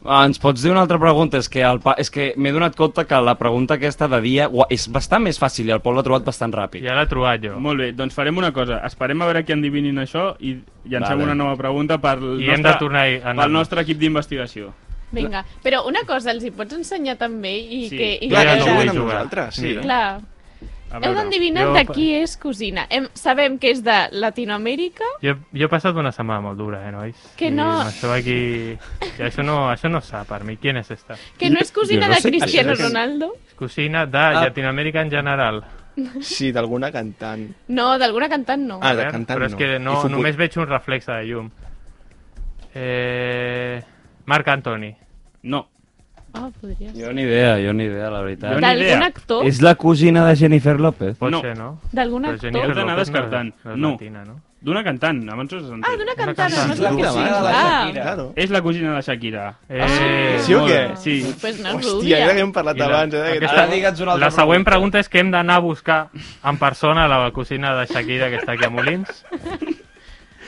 S4: Ah, ens pots dir una altra pregunta? És que, el pa... és que m'he donat compte que la pregunta aquesta de dia ua, és bastant més fàcil i el Pol l'ha trobat bastant ràpid.
S3: Ya la he trobat jo.
S2: Molt bé, doncs farem una cosa. Esperem a veure que endivinin això i llancem
S4: Vale.
S2: una nova pregunta pel
S3: I hem de
S2: nostre,
S3: tornar a anar.
S2: pel nostre equip d'investigació.
S6: Vinga, però una cosa els hi pots ensenyar també i
S2: Sí.
S6: que... I
S3: Clar,
S6: que-
S3: no
S5: juguen
S3: vull
S5: amb
S3: jugar.
S5: nosaltres, sí.
S3: Mira.
S6: Clar,
S2: A
S6: heu
S2: veure.
S6: d'endevinar
S3: Jo-
S6: de qui és cosina. Hem, sabem que és de Latinoamèrica,
S3: Jo, jo he passat una setmana molt dura, eh, nois?
S6: Que
S3: I
S6: no.
S3: amb Això aquí... I això no, això no s'ha per mi. Qui és esta?
S6: que no és cosina
S4: Jo no
S6: de
S4: sé qui
S6: Cristiano
S5: és.
S6: Ronaldo,
S3: És cosina de
S5: Ah.
S3: Llatinoamèrica en general.
S5: Sí, d'alguna cantant.
S6: no, d'alguna cantant no.
S5: Ah, de
S3: Eh?
S5: cantant
S3: Però és
S5: no.
S3: que no,
S5: I futbol-
S3: només veig un reflex de llum. Eh... Marc Antoni.
S2: No,
S6: Ah, podria ser.
S4: Jo ni idea, jo ni idea, la veritat.
S2: Jo ni
S6: D'algun
S2: idea.
S6: actor?
S4: És la cosina de Jennifer López?
S3: Pot
S2: No.
S3: ser, no?
S6: D'algun
S3: Però
S6: actor?
S3: Jennifer
S2: Heu d'anar
S3: López no és-
S2: descartant.
S3: No. és
S2: No.
S3: latina, no?
S2: d'una cantant, abans us
S6: Ah,
S2: sentit.
S6: d'una cantant,
S3: cantant.
S6: no és la que sí. Ah,
S5: Claro.
S2: És la cosina de Shakira.
S3: Eh...
S5: Sí o
S2: Molt
S5: què?
S2: bé, Sí.
S6: pues no és
S5: Hòstia, ja
S6: rubia.
S5: n'havíem parlat
S3: I la-
S5: abans. Eh?
S3: aquesta-
S5: Ara
S4: Ara digue'ns una altra
S3: La següent pregunta és que hem d'anar a buscar en persona la cosina de Shakira que està aquí a Molins.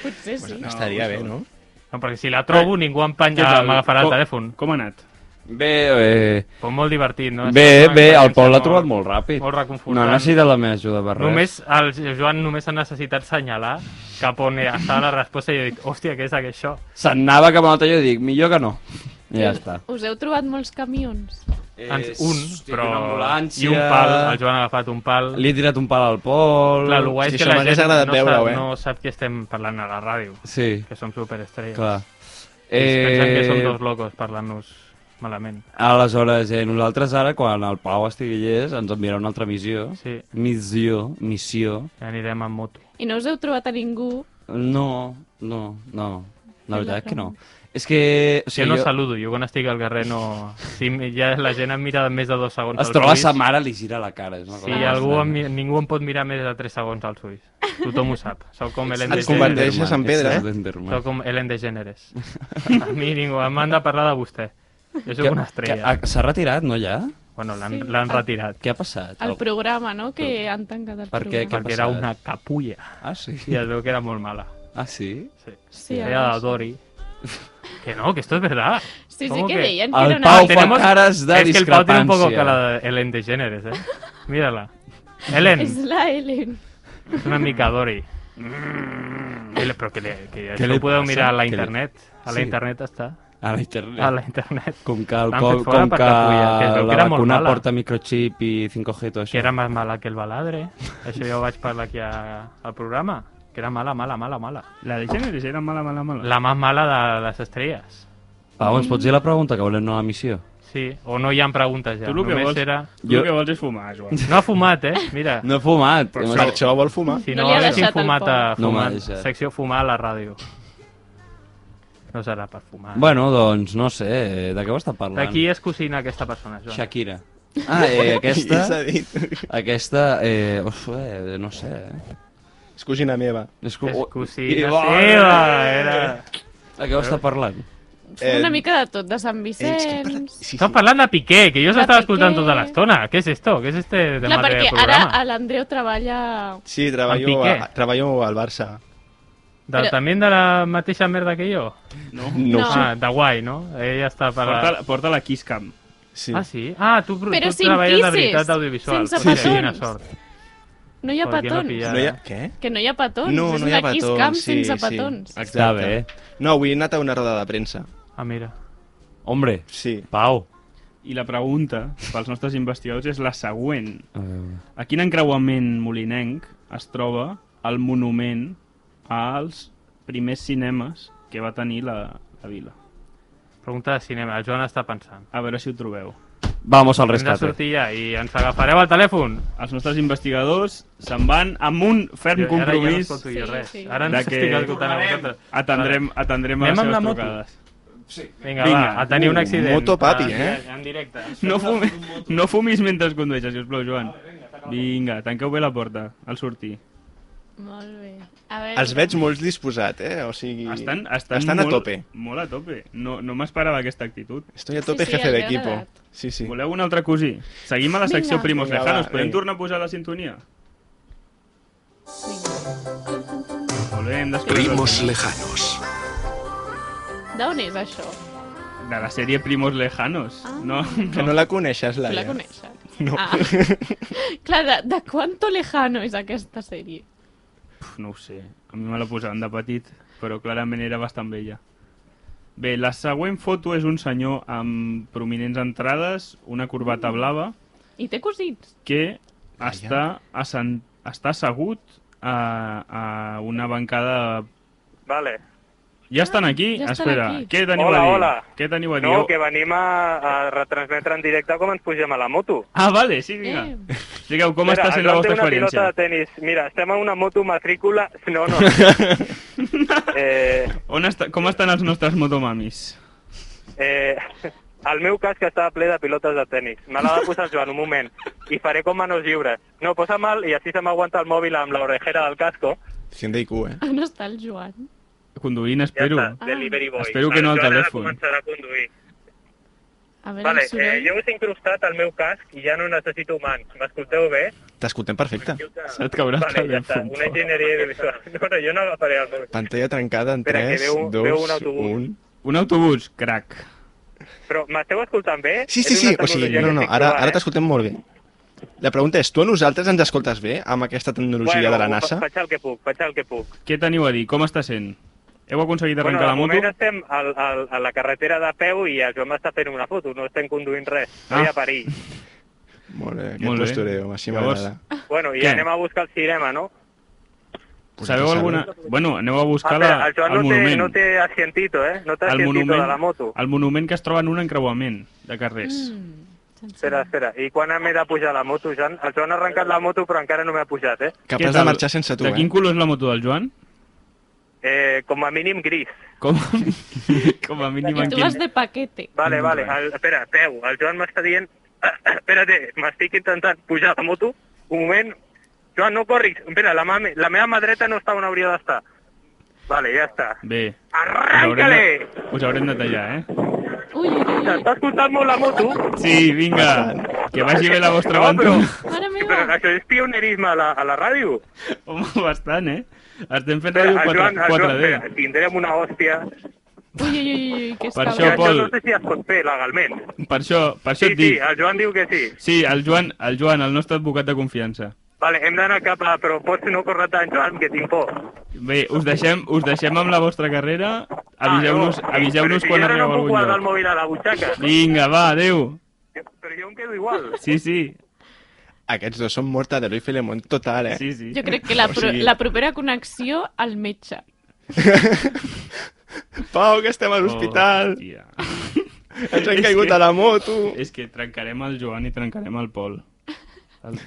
S6: Potser sí.
S5: No, Estaria bé, no?
S3: No, perquè si la trobo ningú em penja, m'agafarà Ah, el
S2: Com-
S3: telèfon.
S2: Com ha anat?
S4: Bé, eh...
S3: Però molt divertit, no?
S4: Bé,
S3: És una
S4: bé, el
S3: experiència
S4: Pol l'ha trobat molt eh? ràpid.
S3: molt
S4: No
S3: reconfortant.
S4: necessita la meva ajuda per res.
S3: Només, el Joan només ha necessitat senyalar cap on està la resposta i jo dic, hòstia, què és això?
S4: Se'n anava cap a un altre lloc i dic, millor que no. I ja està.
S6: Us heu trobat molts camions.
S3: Eh,
S4: Eh,
S3: Ens, un, però...
S4: Una ambulància...
S3: I un pal, el Joan ha agafat un pal.
S4: Li he tirat un pal al Pol...
S3: Clar, el guai
S5: Sí,
S3: és que
S5: això
S3: la
S5: m'hagués
S3: gent
S5: agradat
S3: no, sap,
S5: veure-ho, eh?
S3: no sap que estem parlant a la ràdio,
S4: Sí,
S3: que som superestrelles.
S4: clar.
S3: I es pensen que som
S4: Eh,
S3: dos locos parlant-nos malament.
S4: aleshores, eh, nosaltres ara, quan el Pau estigui llest, ens enviarà una altra missió.
S3: Sí,
S4: Missió, missió...
S3: ja anirem amb moto.
S6: I no us heu trobat a ningú.
S4: No, no, no. La
S6: És la
S4: veritat és que no.
S6: pregunta.
S4: És que... O
S3: Jo
S4: sigui,
S3: no saludo, jo quan estic al carrer no... Si m- ja la gent em mira més de dos segons
S4: Es
S3: als
S4: troba
S3: ulls,
S4: sa mare, li gira la cara. És una
S3: Si
S4: cosa
S3: algú
S4: bastant-
S3: em, mi- ningú em pot mirar més de 3 segons als ulls. Tothom ho sap. Sóc com Ellen
S5: Et converteixes
S3: DeGeneres.
S5: en pedra, eh?
S3: Sóc com Ellen DeGeneres. A mi ningú em manda a parlar de vostè. Jo sóc una estrella.
S4: S'ha retirat, no, ja?
S3: Bueno, Bueno, l'han
S6: Sí.
S3: l'han retirat.
S4: Què ha passat?
S6: El programa, no?, que han tancat el
S3: Per què?
S6: programa.
S3: Què ha Perquè era una capulla.
S4: Ah, sí?
S3: I es veu que era molt mala.
S4: Ah, sí?
S3: Sí.
S6: Sí,
S3: era de
S6: ara sí.
S3: Dory. Que no, que esto es verdad.
S6: Sí, sí
S3: ¿Cómo
S6: que deían que
S4: El
S6: era una-
S4: Pau fa
S3: Tenemos-
S4: caras de
S3: Es que el Pau tiene un poco
S4: discrepancia.
S3: cara de Ellen DeGeneres, ¿eh? Mírala. Ellen,
S6: Es
S3: es
S6: la Ellen.
S3: una mica Dory.
S6: Mm.
S3: Que le- Pero que, le, que
S4: ¿Qué
S3: eso
S4: le
S3: puedo
S4: pasa?
S3: mirar a la
S4: ¿Qué le-
S3: internet. A la
S4: Sí.
S3: internet hasta.
S4: A la internet.
S3: A la internet.
S4: Com que, el
S3: L'han
S4: co
S3: fet fora
S4: com
S3: per
S4: que
S3: capulla, que es veu que
S4: la
S3: era molt
S4: vacuna
S3: mala.
S4: porta microchip i 5G i tot això.
S3: Que era más mala que el baladre. Eso yo voy a parlar aquí a- al programa. Que era mala, mala, mala, mala.
S2: La de Gèneres era mala, mala, mala.
S3: La más mala de las estrellas.
S4: Pau, ens pots dir la pregunta que volem nova missió?
S3: Sí, o no ya han preguntas ya.
S2: Tu el que,
S3: Només
S2: vols,
S3: era-
S2: tu
S4: Jo-
S2: el que vols és fumar, Joan.
S3: No ha fumat, eh? Mira.
S4: No he fumat. Hem
S5: Per això vol fumar.
S3: Si
S6: No
S3: no,
S6: li ha
S3: haguéssim
S6: deixat el
S3: fumat a
S4: No m'ha
S3: fumat,
S4: deixat.
S3: secció fumar a la ràdio. No serà per fumar.
S4: Bueno, doncs no sé, de què ho està parlant?
S3: de qui és cosina aquesta persona, Joan?
S4: Shakira. Ah, eh,
S5: I s'ha
S4: aquesta...
S5: dit.
S4: aquesta, eh, uf, eh, no sé, eh.
S5: És cosina meva.
S4: És,
S3: És
S4: oh,
S3: cosina
S4: i- oh,
S3: seva, era...
S6: Eh,
S4: De què ho està parlant?
S6: Una mica de tot, de Sant
S5: Eh,
S6: Vicenç...
S5: Sí, sí.
S3: Estan parlant de Piqué, que jo
S6: De
S3: s'estava
S6: Piqué.
S3: escoltant tota l'estona. Què és esto? Què és este de
S6: Clar,
S3: madre
S6: perquè
S3: de
S6: ara
S3: programa?
S6: a l'Andreu treballa...
S5: Sí,
S3: En
S5: treballo,
S3: Piqué.
S5: a, treballo al Barça.
S3: De,
S6: Però-
S3: També de la mateixa merda que jo?
S5: No, no,
S6: No.
S5: ho sé.
S3: Ah, de guai, no? Ella està per... la-
S2: Porta, porta la Kiss Cam.
S5: Sí.
S3: Ah, sí? Ah, tu,
S6: Però
S3: tu
S6: sin
S3: treballes de
S6: kisses,
S3: veritat d'audiovisual.
S6: sense
S3: Potser,
S5: petons.
S3: Quina sort.
S6: No hi ha
S3: Joder, qui no
S6: petons.
S3: pilla?
S5: No hi ha... Què?
S6: Que no hi ha petons.
S5: No,
S6: és
S5: no hi ha
S6: una Kiss
S5: petons,
S6: Cam
S5: sí,
S6: sense
S5: sí.
S6: petons.
S5: Exacte.
S4: Està bé.
S5: No, avui he anat a una roda de premsa.
S3: Ah, mira.
S4: Hombre,
S5: Sí.
S4: Pau.
S2: I la pregunta pels nostres investigadors és la següent.
S4: A veure.
S2: A quin encreuament molinenc es troba el monument als primers cinemes que va tenir la, la vila?
S3: Pregunta de cinema. El Joan està pensant.
S2: A veure si ho trobeu.
S4: Vamos al
S3: Hem de
S4: rescate.
S3: sortir ja i ens agafareu el telèfon.
S2: Els nostres investigadors se'n van amb un ferm
S3: Jo- ara ja no
S2: compromís
S3: escolto jo
S6: Sí,
S3: res.
S6: sí.
S3: Ara ens
S2: de que
S3: estic escoltant a vosaltres.
S2: atendrem, atendrem a les
S3: Anem amb la
S2: seves
S3: moto?
S2: trucades.
S3: Vinga,
S2: Vinga.
S3: va, a tenir un
S5: Uh,
S3: accident.
S5: moto papi,
S3: Ah,
S5: eh?
S3: En directe.
S2: No, fumi, no fumis mentre condueixes, sisplau, Joan. Vinga, tanqueu bé la porta al sortir.
S6: Molt bé. A veure...
S5: Els veig molt disposat, eh? O sigui...
S2: Estan, estan,
S5: estan
S2: molt,
S5: a tope.
S2: Molt a tope. No, no m'esperava aquesta actitud.
S5: Estoy a
S6: Sí,
S5: tope
S6: sí,
S5: jefe
S6: els ha
S5: d'equipo.
S6: agradat.
S5: Sí, sí.
S2: Voleu un altre cosí? Seguim a la secció
S6: Vinga.
S2: Primos
S5: Vinga, va,
S2: Lejanos. Podem
S5: vinga.
S2: tornar a posar la sintonia?
S6: Vinga.
S2: Molt bé, hem descobert
S10: Primos lejanos.
S6: D'on és això?
S2: de la sèrie Primos Lejanos.
S6: Ah.
S2: No,
S5: Que no la coneixes,
S6: Tu la
S5: Laia.
S6: coneixes? No. Ah. Clar, de, de quanto lejano és aquesta sèrie?
S2: Pf, no ho sé. A mi me la posaven de petit, però clarament era bastant vella. Bé, la següent foto és un senyor amb prominents entrades, una corbata
S6: Mm.
S2: blava,
S6: I té cosins.
S2: que està, assen... està assegut a, a una bancada...
S8: Vale.
S2: Ja estan aquí?
S6: Ah, ja estan
S2: Espera,
S6: aquí.
S2: què teniu
S8: Hola,
S2: a dir?
S8: hola.
S2: Què teniu a dir?
S8: No, que venim a, a retransmetre en directe com ens pugem a la moto.
S2: Ah, vale, sí, vinga.
S6: Eh.
S2: Digueu, com
S8: Mira,
S2: està sent
S8: es
S2: la
S8: va fer
S2: vostra
S8: una
S2: experiència?
S8: pilota de tenis. Mira, estem en una moto matrícula... No, no. no. eh,
S2: On està, com estan els nostres motomamis?
S8: eh, el meu cas que estava ple de pilotes de tenis. Me l'ha de posar el Joan, un moment. I faré com manos lliures. No, posa mal i així se m'aguanta el mòbil amb l'orejera del casco.
S5: 100 d'IQ, eh?
S6: On està el Joan?
S2: Conduint,
S8: Ja
S2: espero.
S8: està, delivery boy.
S2: Espero que no al
S8: Joan ara
S2: telèfon.
S8: començarà a conduir.
S6: A veure,
S8: Vale,
S6: el
S8: eh,
S6: soroll.
S8: jo us he incrustat el meu casc i ja no necessito mans. M'escolteu bé?
S5: T'escoltem perfecte.
S2: Se't caurà el
S8: vale, ja està.
S2: telèfon,
S8: Una
S2: pobre.
S8: enginyeria audiovisual. No, no, jo no agafaré el mòbil.
S5: Pantalla trencada en
S8: Espera, que
S5: 3,
S8: veu- veu un
S5: 2,
S8: autobús.
S5: 1...
S2: Un autobús, crac.
S8: Però m'esteu escoltant bé?
S5: Sí, sí,
S8: És
S5: sí,
S8: una
S5: o sigui,
S8: tecnologia
S5: no, no,
S8: que estic
S5: ara,
S8: trobant,
S5: ara
S8: eh?
S5: t'escoltem molt bé. La pregunta és, tu a nosaltres ens escoltes bé amb aquesta tecnologia de la
S8: ho fa-
S5: NASA?
S8: Faig el que puc, faig el que puc.
S2: Què teniu a dir? Com està sent? Heu aconseguit
S8: Bueno,
S2: arrencar
S8: de
S2: la moto?
S8: moment estem al, al, a la carretera de peu i el Joan m'està fent una foto, no estem conduint res, no hi
S2: Ah.
S8: ha perill.
S5: Molt bé, aquest
S2: Molt bé.
S5: postureo, així
S2: Llavors,
S5: m'agrada.
S8: Bueno, i
S2: Què?
S8: anem a buscar el cinema, no?
S2: Sabeu
S5: Sabe.
S2: alguna... Bueno, aneu a buscar
S8: espera,
S2: la,
S8: Ah, el Joan
S2: el
S8: no té,
S2: monument.
S8: no té asientito, eh? No té
S2: el
S8: asientito
S2: monument,
S8: de la moto.
S2: el monument que es troba en un encreuament de carrers. Mm.
S6: Mm, sense-
S8: Espera, espera, i quan m'he de pujar a la moto, Joan? El Joan ha arrencat la moto però encara no m'ha pujat, eh?
S5: Capaç de marxar sense tu,
S2: De quin
S5: eh?
S2: color és la moto del Joan?
S8: eh? Com a mínim gris.
S2: Com a, com a mínim
S6: I
S2: en
S6: tu
S2: quin...
S6: vas de paquete.
S8: Vale, vale, el, espera, peu, el Joan m'està dient... Espérate, m'estic intentant pujar a la moto. Un moment. Joan, no corris. Espera, la, mà, me- la meva mà dreta no està on hauria d'estar. Vale, ja està.
S2: Bé, us haurem,
S8: Arranca-le!
S2: de, us haurem de tallar, eh?
S6: Ui, ui, ui.
S8: T'està escoltant molt la moto?
S2: Sí, vinga. Que vagi bé la vostra
S8: no,
S2: aventura.
S8: Però, però això és pionerisme a la, a la ràdio.
S2: Home, bastant, eh? Estem fent ràdio 4, d
S8: espera, tindrem una hòstia.
S6: Ui, ui, ui, ui, que és
S2: Per
S6: calent.
S2: això, Pol-
S8: No sé si es pot fer legalment.
S2: Per això, per això
S8: sí,
S2: et dic.
S8: sí, el Joan diu que sí.
S2: Sí, el Joan, el Joan, el nostre advocat de confiança.
S8: Vale, hem d'anar cap a... Però pots no córrer tant, Joan, que tinc por.
S2: Bé, us deixem, us deixem amb la vostra carrera. Aviseu-nos
S8: Ah, no,
S2: aviseu
S8: però si
S2: quan
S8: jo ara
S2: arribeu
S8: no
S2: al
S8: puc guardar el
S2: lloc.
S8: mòbil a la butxaca.
S2: Vinga, va, adeu.
S8: Però jo em quedo igual.
S2: Sí, sí.
S5: Aquests dos són Mortadelo i Filemón total, eh?
S2: Sí, Oh, sí.
S6: Jo crec que la,
S5: O
S6: pro
S5: sigui,
S6: la propera connexió al metge.
S5: Pau, que
S2: Oh,
S5: estem a l'hospital!
S2: Hòstia.
S5: Ens han caigut a la moto!
S2: És que trencarem el Joan i trencarem el Pol. El...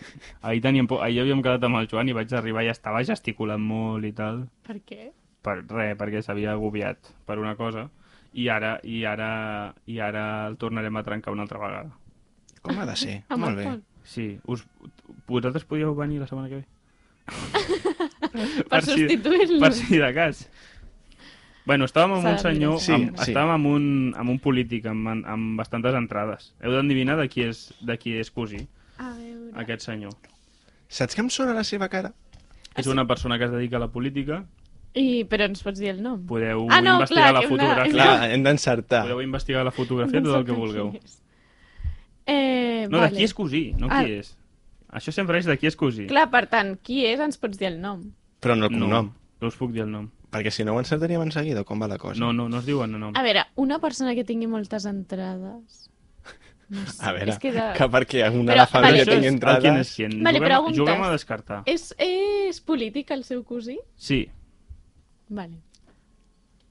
S2: Ahir, teníem... por- Ahir havíem quedat amb el Joan i vaig arribar i estava gesticulant molt i tal.
S6: Per què?
S2: Per res, perquè s'havia agobiat per una cosa. I ara, i ara, i ara el tornarem a trencar una altra vegada.
S5: Com ha de ser?
S6: Amb
S5: Molt
S6: el
S5: bé.
S6: Pol.
S2: Sí, us... vosaltres podíeu venir la setmana que ve?
S6: Per, substituir-lo.
S2: Per si de cas. Bueno, estàvem amb
S6: S'ha
S2: un
S6: de
S2: senyor,
S6: mirar.
S5: Sí,
S2: amb,
S5: sí.
S2: estàvem amb un, amb un polític amb, amb bastantes entrades. Heu d'endevinar de qui és, de qui és cosí,
S6: A veure...
S2: aquest senyor.
S5: Saps que em sona la seva cara?
S2: És una persona que es dedica a la política.
S6: I, però ens pots dir el nom?
S2: Podeu
S6: Ah, no,
S2: investigar
S6: clar,
S2: la
S6: que una-
S2: fotografia.
S5: Clar, hem d'encertar.
S2: Podeu investigar la fotografia,
S6: No
S2: tot el
S6: sap
S2: que
S6: qui
S2: vulgueu.
S6: és. Eh,
S2: No,
S6: vale.
S2: de qui és cosí, no
S6: Ah.
S2: qui és. Això sempre és de qui és cosí.
S6: Clar, per tant, qui és ens pots dir el nom.
S5: Però no el
S2: No,
S5: cognom.
S2: no us puc dir el nom.
S5: Perquè si no ho encertaríem en seguida, com va la cosa?
S2: No, no, no es diuen el nom.
S6: A veure, una persona que tingui moltes entrades... No sé,
S5: A veure,
S6: és que de...
S5: que perquè una
S6: Però,
S5: de la família
S6: vale.
S5: tingui
S2: és el
S5: entrada...
S2: Quien és quien.
S6: Vale,
S2: juguem,
S6: preguntes. Eh-
S2: juguem a descartar.
S6: És, és polític el seu cosí?
S2: Sí.
S6: Vale.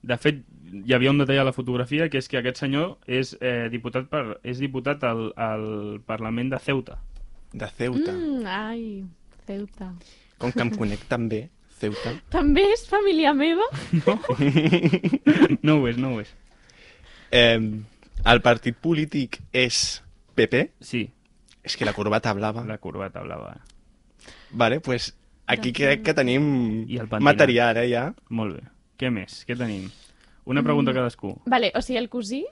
S2: De fet, hi havia un detall a la fotografia que és que aquest senyor és eh, diputat per, és diputat al, al Parlament de Ceuta.
S5: De Ceuta.
S6: Mm, ai, Ceuta.
S5: Com que em conec tan bé, Ceuta.
S6: També és família meva?
S2: No ho és, no ho és.
S5: Eh, el partit polític és PP?
S2: Sí,
S5: És que la corbata blava.
S2: la corbata blava.
S5: Vale, pues aquí
S6: Doncs
S5: crec que tenim
S2: I el pentinat.
S5: material, eh, ja.
S2: Molt bé. Què més? Què tenim? Una pregunta a cadascú.
S6: Vale, o sigui, el cosí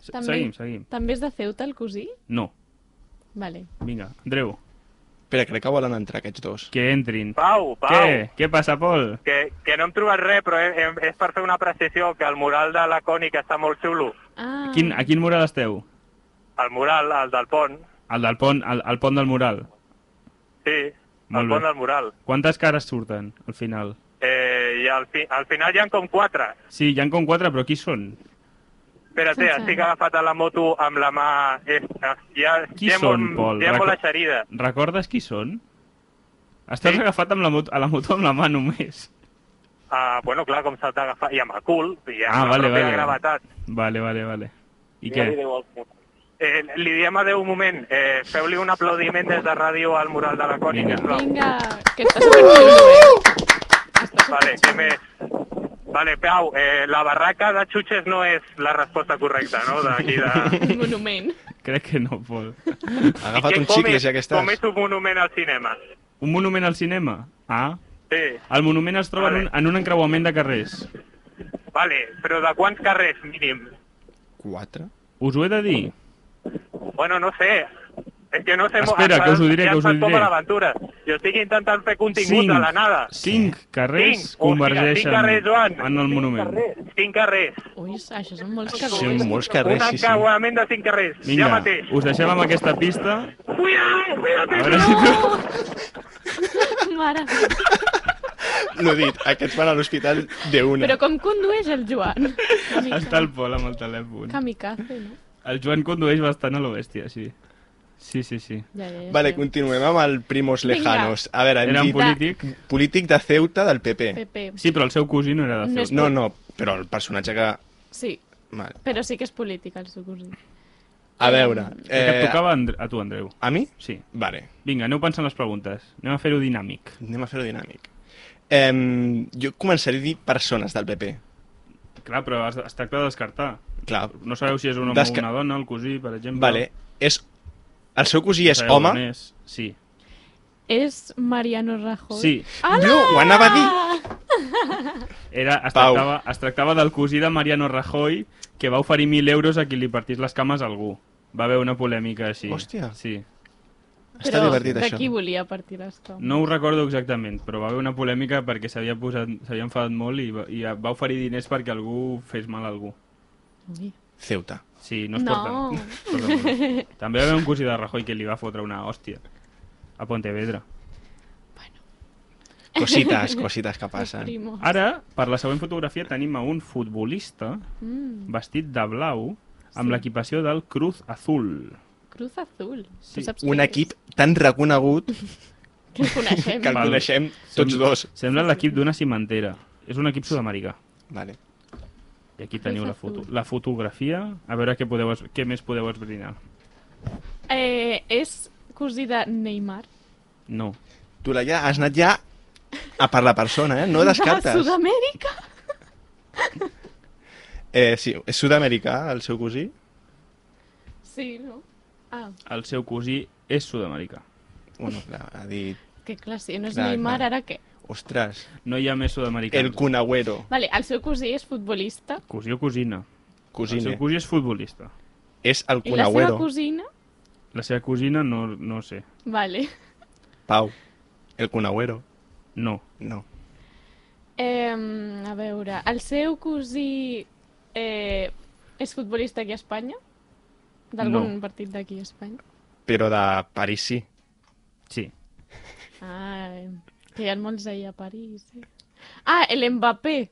S2: Se-
S6: Mm. També.
S2: Seguim, seguim.
S6: també és de Ceuta, el cosí?
S2: No.
S6: Vale.
S2: Vinga, Andreu,
S5: Espera, crec que volen entrar aquests dos.
S2: que entrin.
S8: Pau, Pau.
S2: Què? Què passa, Pol?
S8: Que, que no hem trobat res, però és, és per fer una precisió, que el mural de la Cònica està molt xulo.
S6: Ah,
S2: Quin, a quin mural esteu?
S8: El mural, el del pont,
S2: El del pont, el, el pont del mural.
S8: sí,
S2: Molt
S8: el
S2: bé.
S8: pont del mural.
S2: Quantes cares surten al final?
S8: Eh, I al, fi, al final hi ha com quatre.
S2: Sí, hi han com quatre, però qui són?
S8: Espera't,
S6: Sense-
S8: estic agafat a la moto amb la mà... És, hi ha,
S2: Qui
S8: hi ha
S2: són,
S8: molt,
S2: Pol?
S8: Hi ha molt
S2: Reco-
S8: eixerida.
S2: Recordes qui són? Estàs
S8: Sí.
S2: agafat amb la moto, a la moto amb la mà només.
S8: Ah, bueno, clar, com s'ha d'agafar... I amb el cul, i amb
S2: Ah,
S8: la
S2: vale,
S8: pròpia
S2: vale.
S8: gravetat.
S2: Vale, vale, vale. I
S8: Ja
S2: què?
S8: li deu el- Eh, li diem adeu un moment. Eh, Feu-li un aplaudiment des de ràdio al mural de la Cònica.
S2: Vinga.
S8: sisplau.
S6: vinga, que està superxulo, eh? Està
S8: Vale, què més? Vale, Pau, eh, la barraca de xutxes no és la resposta correcta, no? D'aquí de...
S6: un monument.
S2: Crec que no, Pol.
S5: Agafa't
S8: I
S5: un
S8: com
S5: xicle,
S8: és-
S5: ja que
S8: Com
S5: estàs.
S8: és un monument al cinema?
S2: Un monument al cinema? Ah.
S8: Sí,
S2: El monument es troba en
S8: Vale.
S2: un, en un encreuament de carrers.
S8: vale, però de quants carrers mínim?
S5: Quatre?
S2: Us ho he de dir?
S8: Bueno, no sé. És que no sé... mo-
S2: Espera,
S8: em
S2: que us ho
S8: fa-
S2: diré,
S8: ja
S2: que
S8: em
S2: us ho
S8: fa com
S2: diré.
S8: a l'aventura. Jo estic intentant fer contingut a la nada.
S2: cinc carrers
S8: Cinc, hòstia,
S2: convergeixen
S8: cinc carrers, Joan.
S2: en el monument.
S8: Cinc carrers.
S6: Ui, això són molts
S5: Són
S6: carrers.
S5: molts
S8: Un
S5: carrers, sí, sí.
S8: encauament de cinc carrers.
S2: Vinga,
S8: Ja mateix.
S2: us deixem amb aquesta pista.
S8: Cuidado, cuidado.
S2: A veure si tu...
S6: Mare.
S5: L'ho dit, aquests van a l'hospital d'una.
S6: Però com condueix el Joan? Kamikaze.
S2: Està el Pol amb el telèfon.
S6: Kamikaze, no?
S2: El Joan condueix bastant a lo bèstia, sí. Sí, sí, sí.
S6: Ja, ja, ja.
S5: Vale,
S6: sé.
S5: continuem amb el Primos
S6: Vinga.
S5: Lejanos. A veure,
S2: Era
S5: hem
S2: un
S5: dit
S2: polític...
S5: polític de Ceuta del PP.
S6: Pepe.
S2: Sí, però el seu cosí no era de
S6: No és
S2: Ceuta.
S5: No, no, però el personatge que...
S6: Sí,
S5: Vale.
S6: però sí que és polític el seu cosí.
S5: A veure...
S2: Eh... Que et
S5: Eh,
S2: tocava a Andre- a tu, Andreu.
S5: a mi?
S2: Sí.
S5: Vale,
S2: Vinga, aneu pensant les preguntes. Anem a fer-ho dinàmic.
S5: anem a fer-ho dinàmic. Eh, jo començaré a dir persones del PP.
S2: Clar, però es, es tracta de descartar.
S5: Clar,
S2: No sabeu si és un home o
S5: Desca-
S2: una dona, el cosí, per exemple.
S5: vale. És... El seu cosí
S2: No
S5: és
S2: sabeu
S5: home?
S2: on És. Sí.
S6: És Mariano Rajoy.
S2: Sí.
S6: Ala!
S5: No, ho anava a dir.
S2: Era, es,
S5: Pau.
S2: tractava, es tractava del cosí de Mariano Rajoy que va oferir 1.000 euros a qui li partís les cames a algú. va haver una polèmica així.
S5: Hòstia.
S2: Sí.
S6: Però de qui volia partir l'estómac?
S2: No ho recordo exactament, però va haver una polèmica perquè s'havia posat, s'havia enfadat molt i, va- i va oferir diners perquè algú fes mal a algú.
S6: Ui.
S5: Ceuta.
S2: Sí, no es
S6: No.
S2: porten. Perdó. També va haver un cosí de Rajoy que li va fotre una hòstia a Pontevedra.
S5: Cositas, cositas que passen.
S6: Primo.
S2: Ara, per la següent fotografia, tenim a un futbolista
S6: Mm,
S2: vestit de blau amb
S6: Sí.
S2: l'equipació del Cruz Azul.
S6: Cruz Azul.
S2: Sí,
S6: Tu saps
S5: Un
S6: qui
S5: equip tan reconegut
S6: és? Que el coneixem.
S5: que el
S2: Val.
S5: coneixem tots dos.
S2: Sembla l'equip d'una cimentera. És un equip sud-americà.
S5: Vale.
S2: I aquí teniu la,
S6: Azul.
S2: foto, la fotografia. A veure què, podeu, es- què més podeu esbrinar.
S6: Eh, és cosí de Neymar.
S2: No.
S5: Tu, Laia, has anat ja a per la persona, eh? No
S6: De
S5: descartes.
S6: Sud-amèrica.
S5: Eh, sí, és sud-americà, el seu cosí?
S6: Sí, no? Ah,
S2: El seu cosí és sud-americà.
S5: Bueno, clar, ha dit...
S6: que clar, si no és
S5: Clar,
S6: Neymar,
S5: clar.
S6: ara què?
S5: Ostres,
S2: No hi ha més sud-americans.
S5: el cunagüero,
S6: Vale, el seu cosí és futbolista
S2: Cosí o cosina. El
S5: cosine.
S2: seu cosí és futbolista.
S5: És el
S6: i la seva
S5: cunagüero,
S6: cosina...
S2: La seva cosina no, no ho sé.
S6: Vale.
S5: Pau. El cunagüero,
S2: No.
S5: no.
S6: Eh, a veure, el seu cosí eh, és futbolista aquí a Espanya? D'algun
S2: No.
S6: partit d'aquí a Espanya?
S5: Però de París sí.
S2: Sí.
S6: Ah, que hi ha molts ahir a París. Eh? Ah, el Mbappé.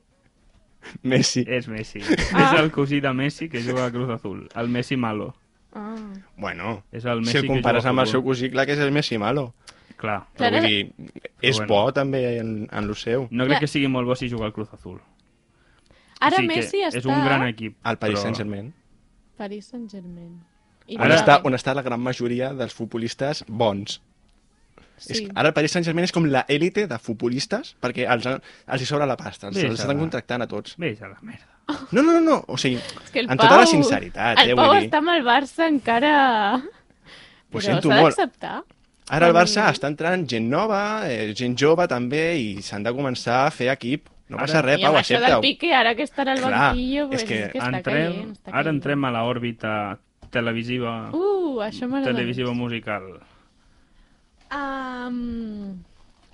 S5: Messi.
S2: És Messi.
S6: Ah.
S2: És el cosí de Messi que juga a Cruz Azul. El Messi malo.
S6: Ah.
S5: Bueno,
S2: És el
S5: si
S2: Messi
S5: el
S2: que
S5: compares
S2: juga a
S5: amb el seu
S2: futbol.
S5: cosí, clar que és el Messi malo.
S2: Clar.
S5: Però
S6: Clar,
S5: vull dir, és
S2: Però
S5: bo
S2: bueno.
S5: també en, en lo seu.
S2: No
S6: Clar.
S2: crec que sigui molt bo si juga al Cruz Azul.
S6: Ara
S2: sí que
S6: Messi està
S2: És un gran equip.
S5: Al Paris
S2: però-
S5: Saint-Germain.
S6: a Paris Saint-Germain. I
S5: On,
S2: Ara-
S5: està, on està la gran majoria dels futbolistes bons. Sí. És,
S6: Sí.
S5: ara el Paris Saint-Germain és com l'élite de futbolistes perquè els, han- els hi sobra la pasta, els,
S2: Bé,
S5: els
S2: serà.
S5: estan contractant a tots.
S2: Vés a la merda.
S5: No, no, no, no. o sigui,
S6: És que el
S5: en tota la
S6: Pau-
S5: sinceritat,
S6: el
S5: eh,
S6: Pau
S5: vull dir.
S6: està amb el Barça encara...
S5: Ho
S6: Però
S5: sento
S6: s'ha
S5: molt.
S6: d'acceptar.
S5: Ara al Barça està entrant gent nova, eh, gent jove també, i s'han de començar a fer equip. No
S2: Ara-
S5: passa res,
S6: I
S5: Eh, Pau,
S6: amb això del
S5: accepta-ho.
S6: Piqué, ara que estarà al
S5: Clar,
S6: banquillo,
S5: és
S6: pues, és
S5: que
S6: que, està
S2: entrem,
S6: caient. Està
S2: ara
S6: caient.
S2: entrem a l'òrbita televisiva,
S6: Uh, això m'agrada.
S2: televisiva musical.
S6: Um,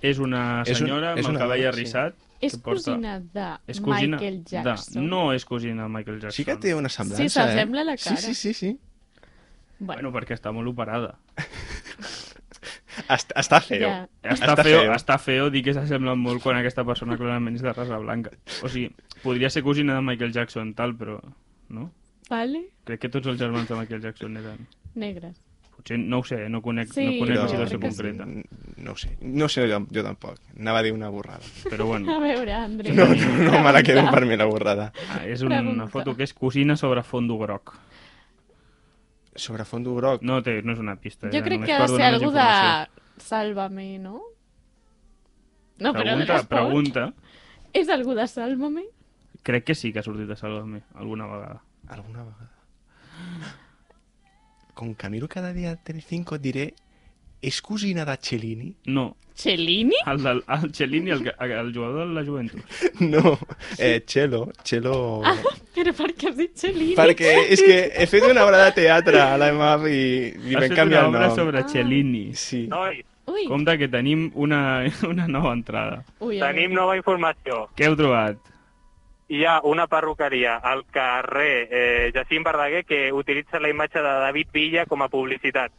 S2: És una
S5: És un-
S2: senyora amb
S5: és
S2: el
S5: una
S2: cabell
S5: dona, sí.
S2: arrissat.
S6: és
S2: que porta-
S6: cosina de
S2: És cosina
S6: Michael
S2: de-
S6: Jackson.
S2: No és cosina de Michael Jackson.
S5: Sí que té una semblança,
S6: Sí, s'assembla
S5: eh?
S6: la cara.
S5: Sí, sí, sí. sí.
S2: Bueno, perquè està molt operada.
S5: Està, està feo.
S6: Ja.
S2: Està, feo, està feo dir que s'assembla molt quan aquesta persona clarament és de raça blanca. O sigui, podria ser cosina de Michael Jackson, tal, però... No?
S6: Vale?
S2: Crec que tots els germans de Michael Jackson eren...
S6: Negres.
S2: Potser, no ho sé, eh, no conec,
S6: Sí,
S2: no conec
S6: Però-
S2: la situació
S6: crec que sí.
S2: concreta.
S5: No ho sé. No ho sé jo, jo tampoc. Anava a dir una borrada.
S2: Però
S6: A
S2: bueno,
S6: veure, André.
S5: No, no, no me la quedo per mi la borrada.
S2: ah, és una
S6: Pregunta.
S2: foto que és cosina sobre fondo groc.
S5: Sobre fondo groc.
S2: No, té, no és una pista.
S6: Jo
S2: era
S6: crec
S2: només
S6: que ha
S2: per
S6: de ser
S2: donar més
S6: algú de
S2: informació.
S6: Sálvame, no? No, però
S2: Pregunta,
S6: no es pot.
S2: pregunta.
S6: És algú de Sálvame?
S2: Crec que sí que ha sortit de Salvame alguna vegada.
S5: Alguna vegada. Com que miro cada dia Telecinco diré és cosina de Cellini?
S2: No,
S6: Cellini?
S2: el, del, el Cellini, el, que- el jugador de la Juventus.
S5: No, eh, Chelo, Chelo...
S6: Ah, però per què has dit Cellini?
S5: Perquè és que he fet una obra de teatre a l'EMAP i,
S2: Has
S5: i vam
S2: fet una
S5: canviar el
S2: obra
S5: nom.
S2: sobre Cellini.
S5: Sí.
S8: Nois,
S6: Ui,
S2: Compte que tenim una, una nova entrada.
S6: ui, a
S8: tenim
S6: veure.
S8: nova informació.
S2: Què heu trobat?
S8: Hi ha una perruqueria al carrer eh, Jacint Verdaguer que utilitza la imatge de David Villa com a publicitat.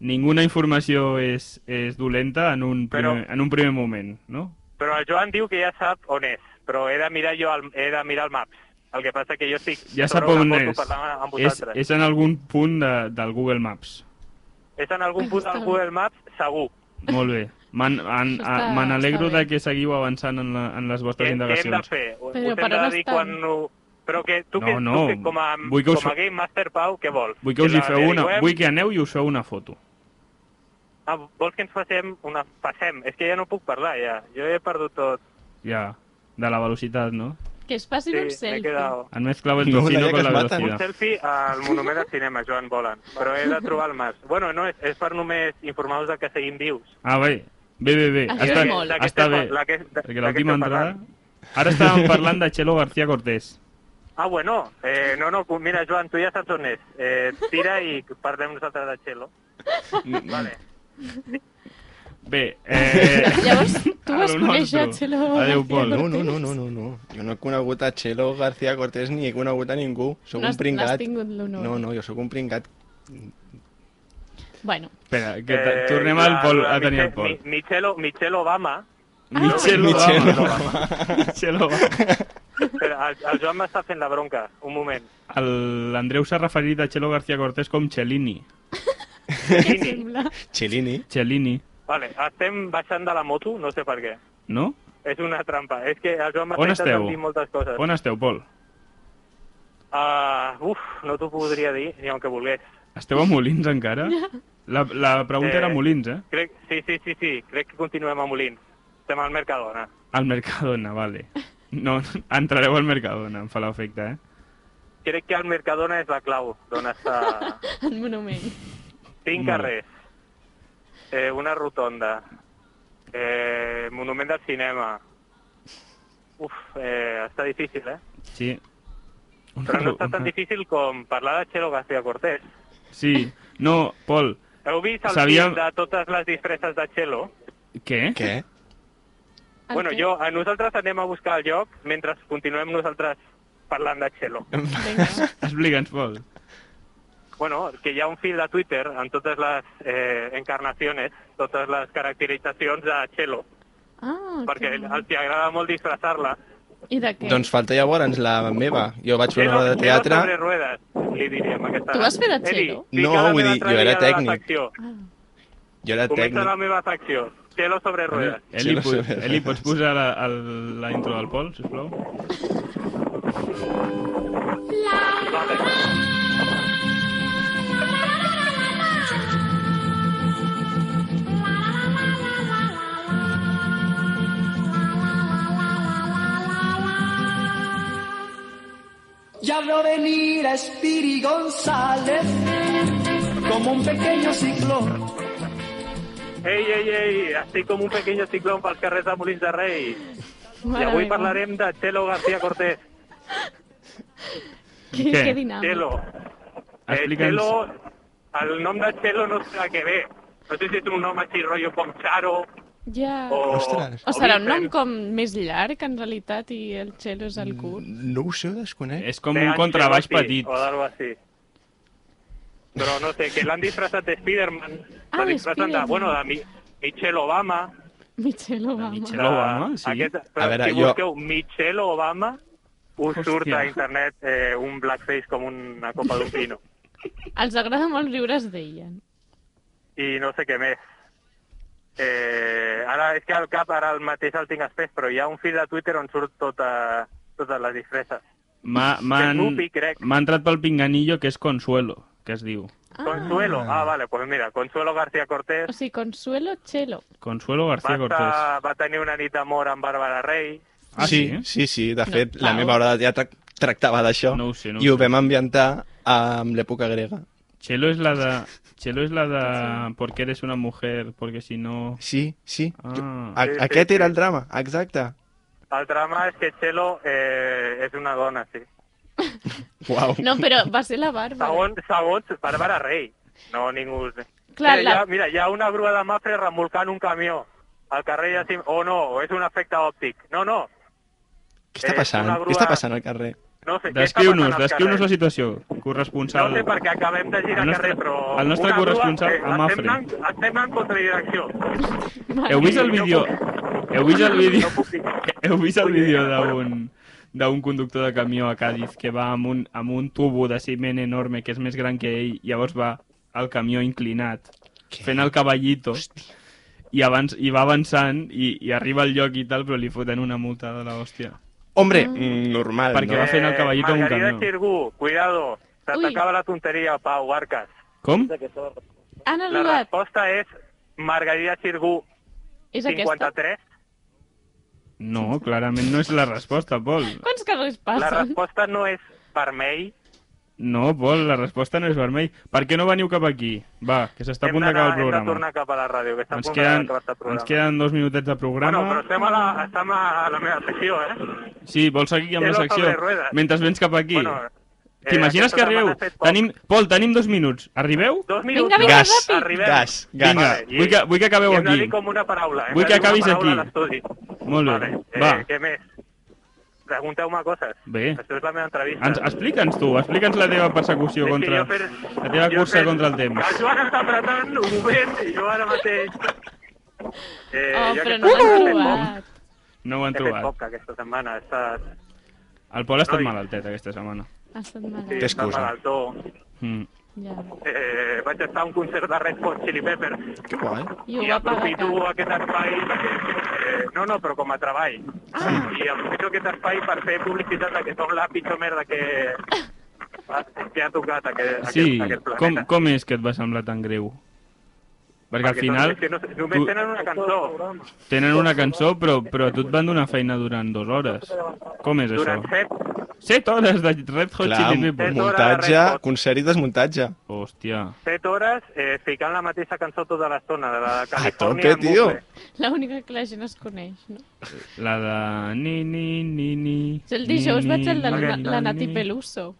S2: Ninguna informació és, és dolenta en un,
S8: Però-
S2: primer, en un primer moment, no?
S8: Però el Joan diu que ja sap on és, però he de mirar jo el, he de mirar el Maps. El que passa que jo estic
S2: Ja
S8: sobre
S2: sap
S8: una
S2: on
S8: foto
S2: és.
S8: parlant amb
S2: És,
S8: vosaltres. És,
S2: és en algun punt de, del Google Maps.
S8: és... en algun punt del Google Maps, segur.
S2: Molt bé. Man, en,
S6: Està-
S2: a, me n'alegro
S6: està bé.
S2: de que seguiu avançant en, la, en les
S8: Què,
S2: vostres
S8: què hem de
S2: indagacions.
S8: fer? Ho-
S6: Però
S8: Us
S6: per
S8: hem de
S6: on
S8: dir
S6: estan?
S8: quan... Ho... Però que tu, que,
S2: No, no,
S8: tu que com a,
S2: vull que us-
S8: com a Game Master Pau, què vols?
S2: Vull que us hi
S8: la
S2: feu una,
S8: averiguem?
S2: vull que aneu i us feu una foto.
S8: Ah, vols que ens passem una... Passem, és que ja no puc parlar, ja. Jo he perdut tot.
S2: Ja, de la velocitat, no?
S6: Que es facin
S8: Sí,
S6: un
S8: m'he
S6: selfie.
S8: quedat...
S2: Han mezclado el
S5: No,
S2: tocino
S5: Laia, que
S2: con la
S5: es mata.
S8: Un
S2: velocidad.
S8: selfie al monument del cinema, Joan, volen. Però he de trobar el mas. Bueno, no, és, és per només informar-vos de que seguim vius.
S2: Ah, bé. Bé, bé, bé.
S6: Això
S2: Està,
S6: és molt.
S2: està
S8: D'aquesta-
S2: bé.
S8: la que-
S2: Perquè
S8: d'aquesta
S2: l'última
S8: parlant.
S2: entrada... Ara estàvem parlant de Chelo García Cortés.
S8: Ah, bueno, eh, no, no, mira, Joan, tu ja saps on és. Eh, tira i parlem nosaltres de Txelo. Vale.
S2: Bé, eh...
S6: Llavors, tu
S2: Ara
S6: vas
S2: un
S6: conèixer
S2: altre.
S6: Txelo
S2: Adéu,
S6: García
S2: Pol.
S5: No, no, no, no, no, no. Jo no he conegut a Txelo García Cortés ni he conegut a ningú. Sóc
S6: No has-
S5: un pringat.
S6: n'has tingut l'honor.
S5: No, no, jo sóc un pringat.
S6: Bueno,
S2: Espera, que eh, tornem al Pol, a tenir el Pol.
S8: Michelo, Michelo Obama.
S2: Michel
S5: Michel
S2: Obama. Michel Obama.
S8: Espera, el, el Joan m'està fent la bronca. Un moment.
S2: El- L'Andreu s'ha referit a Chelo García Cortés com Cellini.
S6: què sembla?
S5: Chilini.
S2: Cellini,
S8: Vale, estem baixant de la moto, no sé per què.
S2: no?
S8: És una trampa. És que el Joan m'està
S2: On
S8: intentant
S2: esteu?
S8: dir moltes coses.
S2: On esteu, Pol?
S8: Ah, uf, no t'ho podria dir, ni aunque vulgués.
S2: Esteu a Molins encara? La, la pregunta
S8: Eh.
S2: era Molins, eh?
S8: Crec, sí, sí, sí, sí, crec que continuem a Molins. Estem al Mercadona.
S2: Al Mercadona, vale. No, entrareu al Mercadona, em fa l'efecte, eh?
S8: Crec que el Mercadona és la clau d'on està...
S6: El monument.
S8: Cinc
S2: Molt bé.
S8: carrers. Eh, una rotonda. Eh, monument del cinema. Uf, eh, està difícil, eh?
S2: Sí. Una
S8: Però no està
S2: ro-
S8: tan difícil com parlar de Chelo García Cortés.
S2: Sí. No, Pol,
S8: Heu vist el
S2: Sabíem-
S8: Sabíem... de totes les disfresses de Chelo?
S2: què?
S5: Què?
S6: El
S8: Bueno,
S6: què?
S8: jo, a nosaltres anem a buscar el lloc mentre continuem nosaltres parlant de Chelo.
S6: Vinga.
S2: Explica'ns, Pol.
S8: Bueno, que hi ha un fil de Twitter amb totes les eh, encarnaciones, totes les caracteritzacions de Chelo,
S6: Ah,
S8: perquè
S6: que...
S8: els hi agrada molt disfressar-la.
S6: I de què?
S5: Doncs falta llavors la meva. Jo vaig fer una
S8: Chelo-
S5: obra de
S8: Chelo sobre
S5: teatre.
S8: ruedes, li diríem aquesta.
S6: Tu vas fer de
S8: Edi,
S6: Chelo?
S8: fica
S5: No,
S8: la
S5: vull
S8: meva
S5: dir, jo
S8: altra
S5: era
S8: idea de la
S5: tècnic.
S8: secció.
S5: Jo era
S8: Comença la
S5: tècnic.
S8: meva secció. Chelo sobre ruedes.
S2: Eli,
S5: Chelo
S2: pu-
S5: sobre ruedas.
S2: Eli, pots posar la, el, la intro del Pol, sisplau?
S8: Vale.
S11: Ya veo venir a Spiri González como un pequeño ciclón.
S8: Ei, ei, ei, estic com un pequeño ciclón pels carrers de Molins de Rei. I
S6: Mare
S8: avui
S6: meva.
S8: parlarem de Chelo García Cortés.
S6: Que,
S2: Què?
S6: que dinàmic.
S8: Chelo. Eh,
S2: Explica'ns.
S8: Chelo, el nom de Chelo no sé a què ve. No sé si és un nom així, rotllo com Charo,
S6: Ja...
S8: o...
S5: Ostres.
S6: O serà un nom
S8: Vincent.
S6: com més llarg, en realitat, i el Txelo és
S5: Mm.
S6: el curt.
S5: No ho sé, ho desconec.
S2: És com
S8: De
S2: un contrabaix
S8: Ancelotti,
S2: petit.
S8: O d'algo així. Però no sé, que l'han disfressat de Spiderman.
S6: Ah,
S8: la
S6: de
S8: disfressen de,
S6: Spiderman.
S8: bueno, de Mi Michelle Obama.
S6: Michelle Obama.
S2: Michelle- Michelle Obama, sí.
S8: però
S5: A veure,
S8: si
S5: jo-
S8: busqueu Michelle Obama, us
S2: Hòstia.
S8: surt a internet eh, un blackface com una copa d'un pino.
S6: Els agrada molt riure's d'ella.
S8: I no sé què més. Eh, ara és que al cap, ara el mateix el tinc espès, però hi ha un fil de Twitter on surt tota, totes les disfresses.
S2: M'ha m'han-
S8: És Guppy, crec.
S2: m'ha entrat pel pinganillo que és Consuelo, que es diu.
S8: Consuelo, ah, vale, pues mira, Consuelo García Cortés,
S6: O sigui, Consuelo Txelo.
S2: Consuelo
S8: va,
S2: García Cortés.
S8: estar, va tenir una nit d'amor amb Bàrbara Rey.
S2: Ah, sí?
S5: sí, sí, sí. De
S6: No,
S5: fet, la
S6: Pau.
S5: meva obra de teatre tractava d'això.
S2: No ho sé, no ho
S5: I ho
S2: sé.
S5: vam ambientar amb l'època grega.
S2: Chelo és la de... Chelo és la de... Porque eres una mujer, porque si no...
S5: Sí, sí.
S2: Ah.
S5: A
S8: Sí, sí,
S5: aquest
S8: sí.
S5: era el drama, exacte.
S8: El drama és que Chelo eh, és una dona, sí.
S5: Uau.
S6: No, però va ser la Bàrbara.
S8: Segons, segons Bàrbara Rey, no ningú...
S6: Clar,
S8: mira,
S6: la-
S8: hi ha, mira, hi ha una grua de mafre remolcant un camió al carrer de Cim... O no, o és un efecte òptic. No, no,
S5: Què està
S8: Eh,
S5: passant?
S8: una grua-
S5: Què està passant al carrer?
S8: no sé. què està
S2: Descriu-nos,
S8: passant als
S2: descriu-nos la
S8: carrers.
S2: situació, corresponsal.
S8: No sé perquè acabem de girar
S2: El nostre-
S8: carrer, però...
S2: el nostre
S8: una grua,
S2: corresponsal,
S8: eh,
S2: a Mafre.
S8: Estem anant, estem anant contradirecció.
S2: Heu vist el
S8: No
S2: vídeo... Heu vist el vídeo...
S8: No puc dir.
S2: Heu vist el
S8: Vull dir,
S2: vídeo
S8: bueno.
S2: d'un d'un conductor de camió a Cádiz que va amb un, amb un tubo de ciment enorme que és més gran que ell, llavors va al camió inclinat,
S5: Què?
S2: fent el cavallito, i, abans, i va avançant i, i arriba al lloc i tal, però li foten una multa de l'hòstia.
S5: Hombre, mm, normal,
S2: Perquè
S5: no?
S2: va fent el caballito amb un
S8: Margarida
S2: camió.
S8: Xirgú, cuidado, se
S6: Ui.
S8: t'acaba la tonteria, Pau, Arcas.
S2: Com?
S6: Han
S8: La
S6: arribat.
S8: resposta és Margarida Xirgú,
S6: És aquesta?
S8: 53.
S2: No, clarament no és la resposta, Pol.
S6: Quants carrers
S8: La
S6: passen?
S8: resposta no és vermell,
S2: No, Pol, la resposta no és vermell. Per què no veniu cap aquí? Va, que s'està a punt d'acabar el
S8: Hem de
S2: programa.
S8: tornar cap a la ràdio, que està a
S2: Ens
S8: punt
S2: queden,
S8: d'acabar el programa.
S2: ens queden dos minutets de
S8: Bueno,
S2: programa.
S8: però estem a la, estem a la meva secció, eh?
S2: Sí, vols seguir amb
S8: Quiero
S2: la secció?
S8: sobre ruedas.
S2: Mentre vens cap aquí.
S8: Bueno, eh,
S2: T'imagines
S8: aquesta
S2: que
S8: setmana
S2: arribeu?
S8: ha fet poc.
S2: Tenim... Pol, tenim dos minuts. Arribeu?
S8: Dos minuts.
S2: vinga, Gas, ràpid.
S8: Arribem.
S2: gas, gas. Vinga,
S8: i-
S2: vull que- vull que acabeu
S8: i Hem de
S2: aquí.
S8: dir com una paraula. hem
S2: Vull
S8: de
S2: que
S8: dir una
S2: acabis
S8: paraula
S2: aquí.
S8: a l'estudi.
S2: Molt bé. Va,
S8: Eh, què més? Pregunteu-me coses.
S2: bé.
S8: Això és la meva entrevista.
S2: Ens, explica'ns tu, explica'ns la teva persecució
S8: És que
S2: contra...
S8: jo per-
S2: La teva
S8: jo
S2: cursa
S8: per-
S2: contra el temps.
S8: El Joan està apretant un moment i jo ara mateix... Eh,
S6: Oh,
S8: ja que
S6: però no
S8: he
S6: l'han
S8: fet
S6: trobat.
S8: poc,
S2: No ho han
S8: He fet
S2: trobat.
S8: poc aquesta setmana. He estat...
S2: El Pol ha estat
S8: Noi.
S2: malaltet aquesta setmana.
S6: Ha estat malalt.
S8: Sí, he estat malaltó.
S2: Mm.
S6: Ja.
S8: Eh, vaig estar a un concert de Red Hot Chili Peppers. Que guai.
S6: I ho
S8: I
S6: va pagar
S8: aprofito aquest espai... Eh, no, no, però com a treball. Ah. I aprofito aquest espai per fer publicitat de que som la pitjor merda que, que ha tocat aquest,
S2: Sí,
S8: aquest, aquest
S2: com,
S8: planeta.
S2: com és que et va semblar tan greu? Perquè al
S8: Perquè
S2: final
S8: Només, que no, només
S2: tu,
S8: tenen una cançó.
S2: tenen una cançó, però, però a tu et van donar feina durant dues hores. Com és això?
S8: Durant set,
S2: Set hores de Red Hot
S5: Clar,
S2: Chili Peppers.
S5: muntatge, concert i desmuntatge.
S2: Hòstia.
S8: set hores eh, ficant la mateixa cançó tota l'estona, de la
S2: Ah,
S8: de Califòrnia.
S5: Tope, tio.
S6: L'única que la gent es coneix, no?
S2: La de... Ni, ni, ni, ni...
S6: Jo el dijous
S2: ni,
S6: vaig al de
S2: ni,
S6: la, la
S2: ni,
S6: Nati
S2: ni.
S6: Peluso.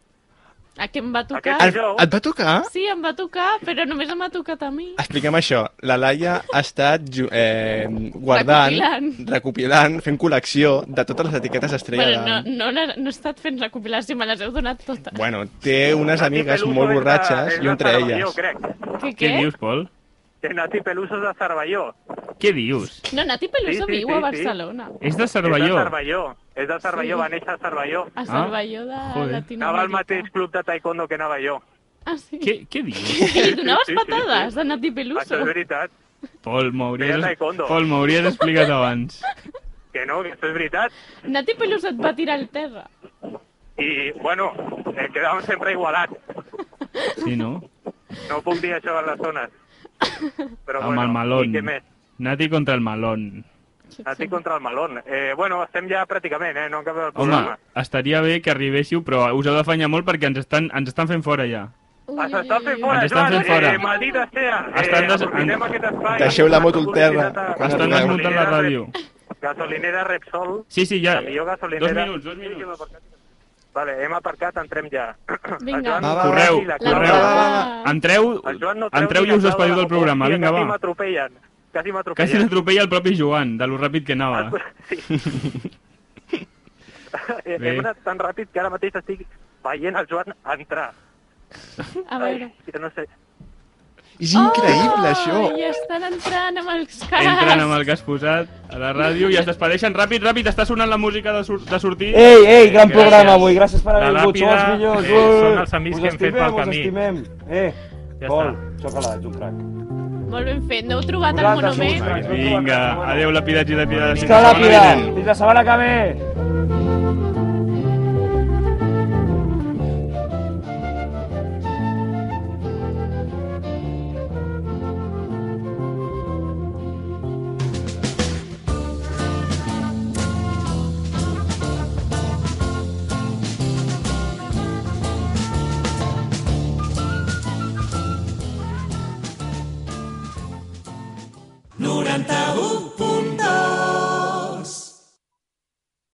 S6: A què em va tocar?
S5: Aquest dijous? Et- et va tocar?
S6: Sí, em va tocar, però només em ha tocat a
S2: Ah,
S6: mi.
S5: Expliquem això. La Laia ha estat ju- eh, guardant,
S6: Recopilant.
S5: recopilant. fent col·lecció de totes les etiquetes estrella.
S6: Però
S5: Bueno,
S6: no, no, la- no he estat fent la compilació, me les heu donat totes.
S5: bueno té unes amigues
S8: Peluso
S5: molt
S8: és de-
S5: borratxes
S8: és
S5: i
S8: de
S5: entre
S8: Cervelló,
S5: elles...
S8: crec.
S6: Què,
S2: Què
S6: què?
S2: dius, Pol?
S8: Que Nati Peluso és de Cervelló.
S2: Què dius?
S6: No, Nati
S8: Sí,
S6: Peluso
S8: sí,
S6: viu
S8: sí,
S6: a
S8: sí.
S6: Barcelona.
S2: És de Cervelló.
S8: És de Cervelló. És de Cervelló,
S6: Sí.
S8: va néixer a Cervelló.
S6: A Cervelló de
S2: Ah, joder.
S8: Anava al
S6: Latinoamèrica.
S8: mateix club de taekwondo que anava jo.
S6: Ah, sí.
S2: Què, què dius?
S6: I li donaves
S8: Sí, sí, sí,
S6: patades de Nati Peluso.
S8: Això és veritat.
S2: Pol, m'hauries
S8: Feia taekwondo.
S2: Pol, m'hauries explicat abans.
S8: Que no, que això és veritat.
S6: Nati Peluso et va tirar al terra.
S8: I, bueno, eh, quedàvem sempre igualats.
S2: Sí, no?
S8: No puc dir això a les zones. Però,
S2: Amb
S8: bueno,
S2: el
S8: I
S2: malón.
S8: què més?
S2: Nati contra el malón.
S8: Nati contra el malón. Eh, bueno, estem ja pràcticament, eh? No acaba el
S2: Home,
S8: programa.
S2: estaria bé que arribéssiu, però us heu d'afanyar molt perquè ens estan, ens estan fent fora ja.
S8: Ui, Ens estan fent fora,
S2: Ens estan
S8: Joan.
S2: fent fora.
S8: Eh, maldita sea.
S2: Estan
S8: Eh,
S2: des-
S8: aprofitem
S2: en-
S8: aquest espai.
S5: Deixeu la moto al terra.
S2: Estan desmuntant la ràdio.
S8: Gasolinera Repsol.
S2: Sí, sí, ja.
S8: La millor gasolinera.
S2: Dos minuts, dos minuts.
S8: Vale, hem aparcat, entrem ja.
S6: Vinga.
S8: El Joan
S6: Va, va,
S8: no
S2: Correu,
S8: treu ni la clau.
S2: correu. Entreu,
S8: El Joan no treu
S2: entreu
S8: ni
S2: i
S8: la
S2: us
S8: clau
S2: despediu
S8: de la
S2: del programa.
S8: bombolla,
S2: Vinga,
S8: Quasi
S2: va.
S8: m'atropellen. Quasi m'atropellen.
S2: Quasi l'atropella el propi Joan, de lo ràpid que
S8: Ah,
S2: anava.
S8: Eh,
S2: Bé.
S8: Hem anat tan ràpid que ara mateix estic veient el Joan entrar.
S6: A veure. Oh,
S8: Ai, que no sé.
S5: És increïble, això!
S6: I estan entrant amb els cas.
S2: Entren amb el que has posat a la ràdio i es despedeixen ràpid, ràpid, està sonant la música de, sur de sortir.
S7: Eh.
S12: Ei, ei, gran
S2: Gràcies.
S12: programa avui, gràcies per haver
S2: La
S12: vingut, sou els
S2: làpida,
S12: millors.
S2: eh,
S12: ui.
S2: són els amics
S12: Us
S2: que hem fet
S12: estimem,
S2: pel
S12: us
S2: camí.
S12: estimem. Eh,
S2: Ja
S12: Pol,
S2: està.
S12: xoca-la, ets un crac.
S6: Molt ben fet, no heu trobat el
S12: Vosaltres sou uns
S6: monument?
S12: cracs.
S2: Vinga, adeu lapidats i lapidades.
S12: Fins la làpida, fins la setmana que ve.
S11: Noranta u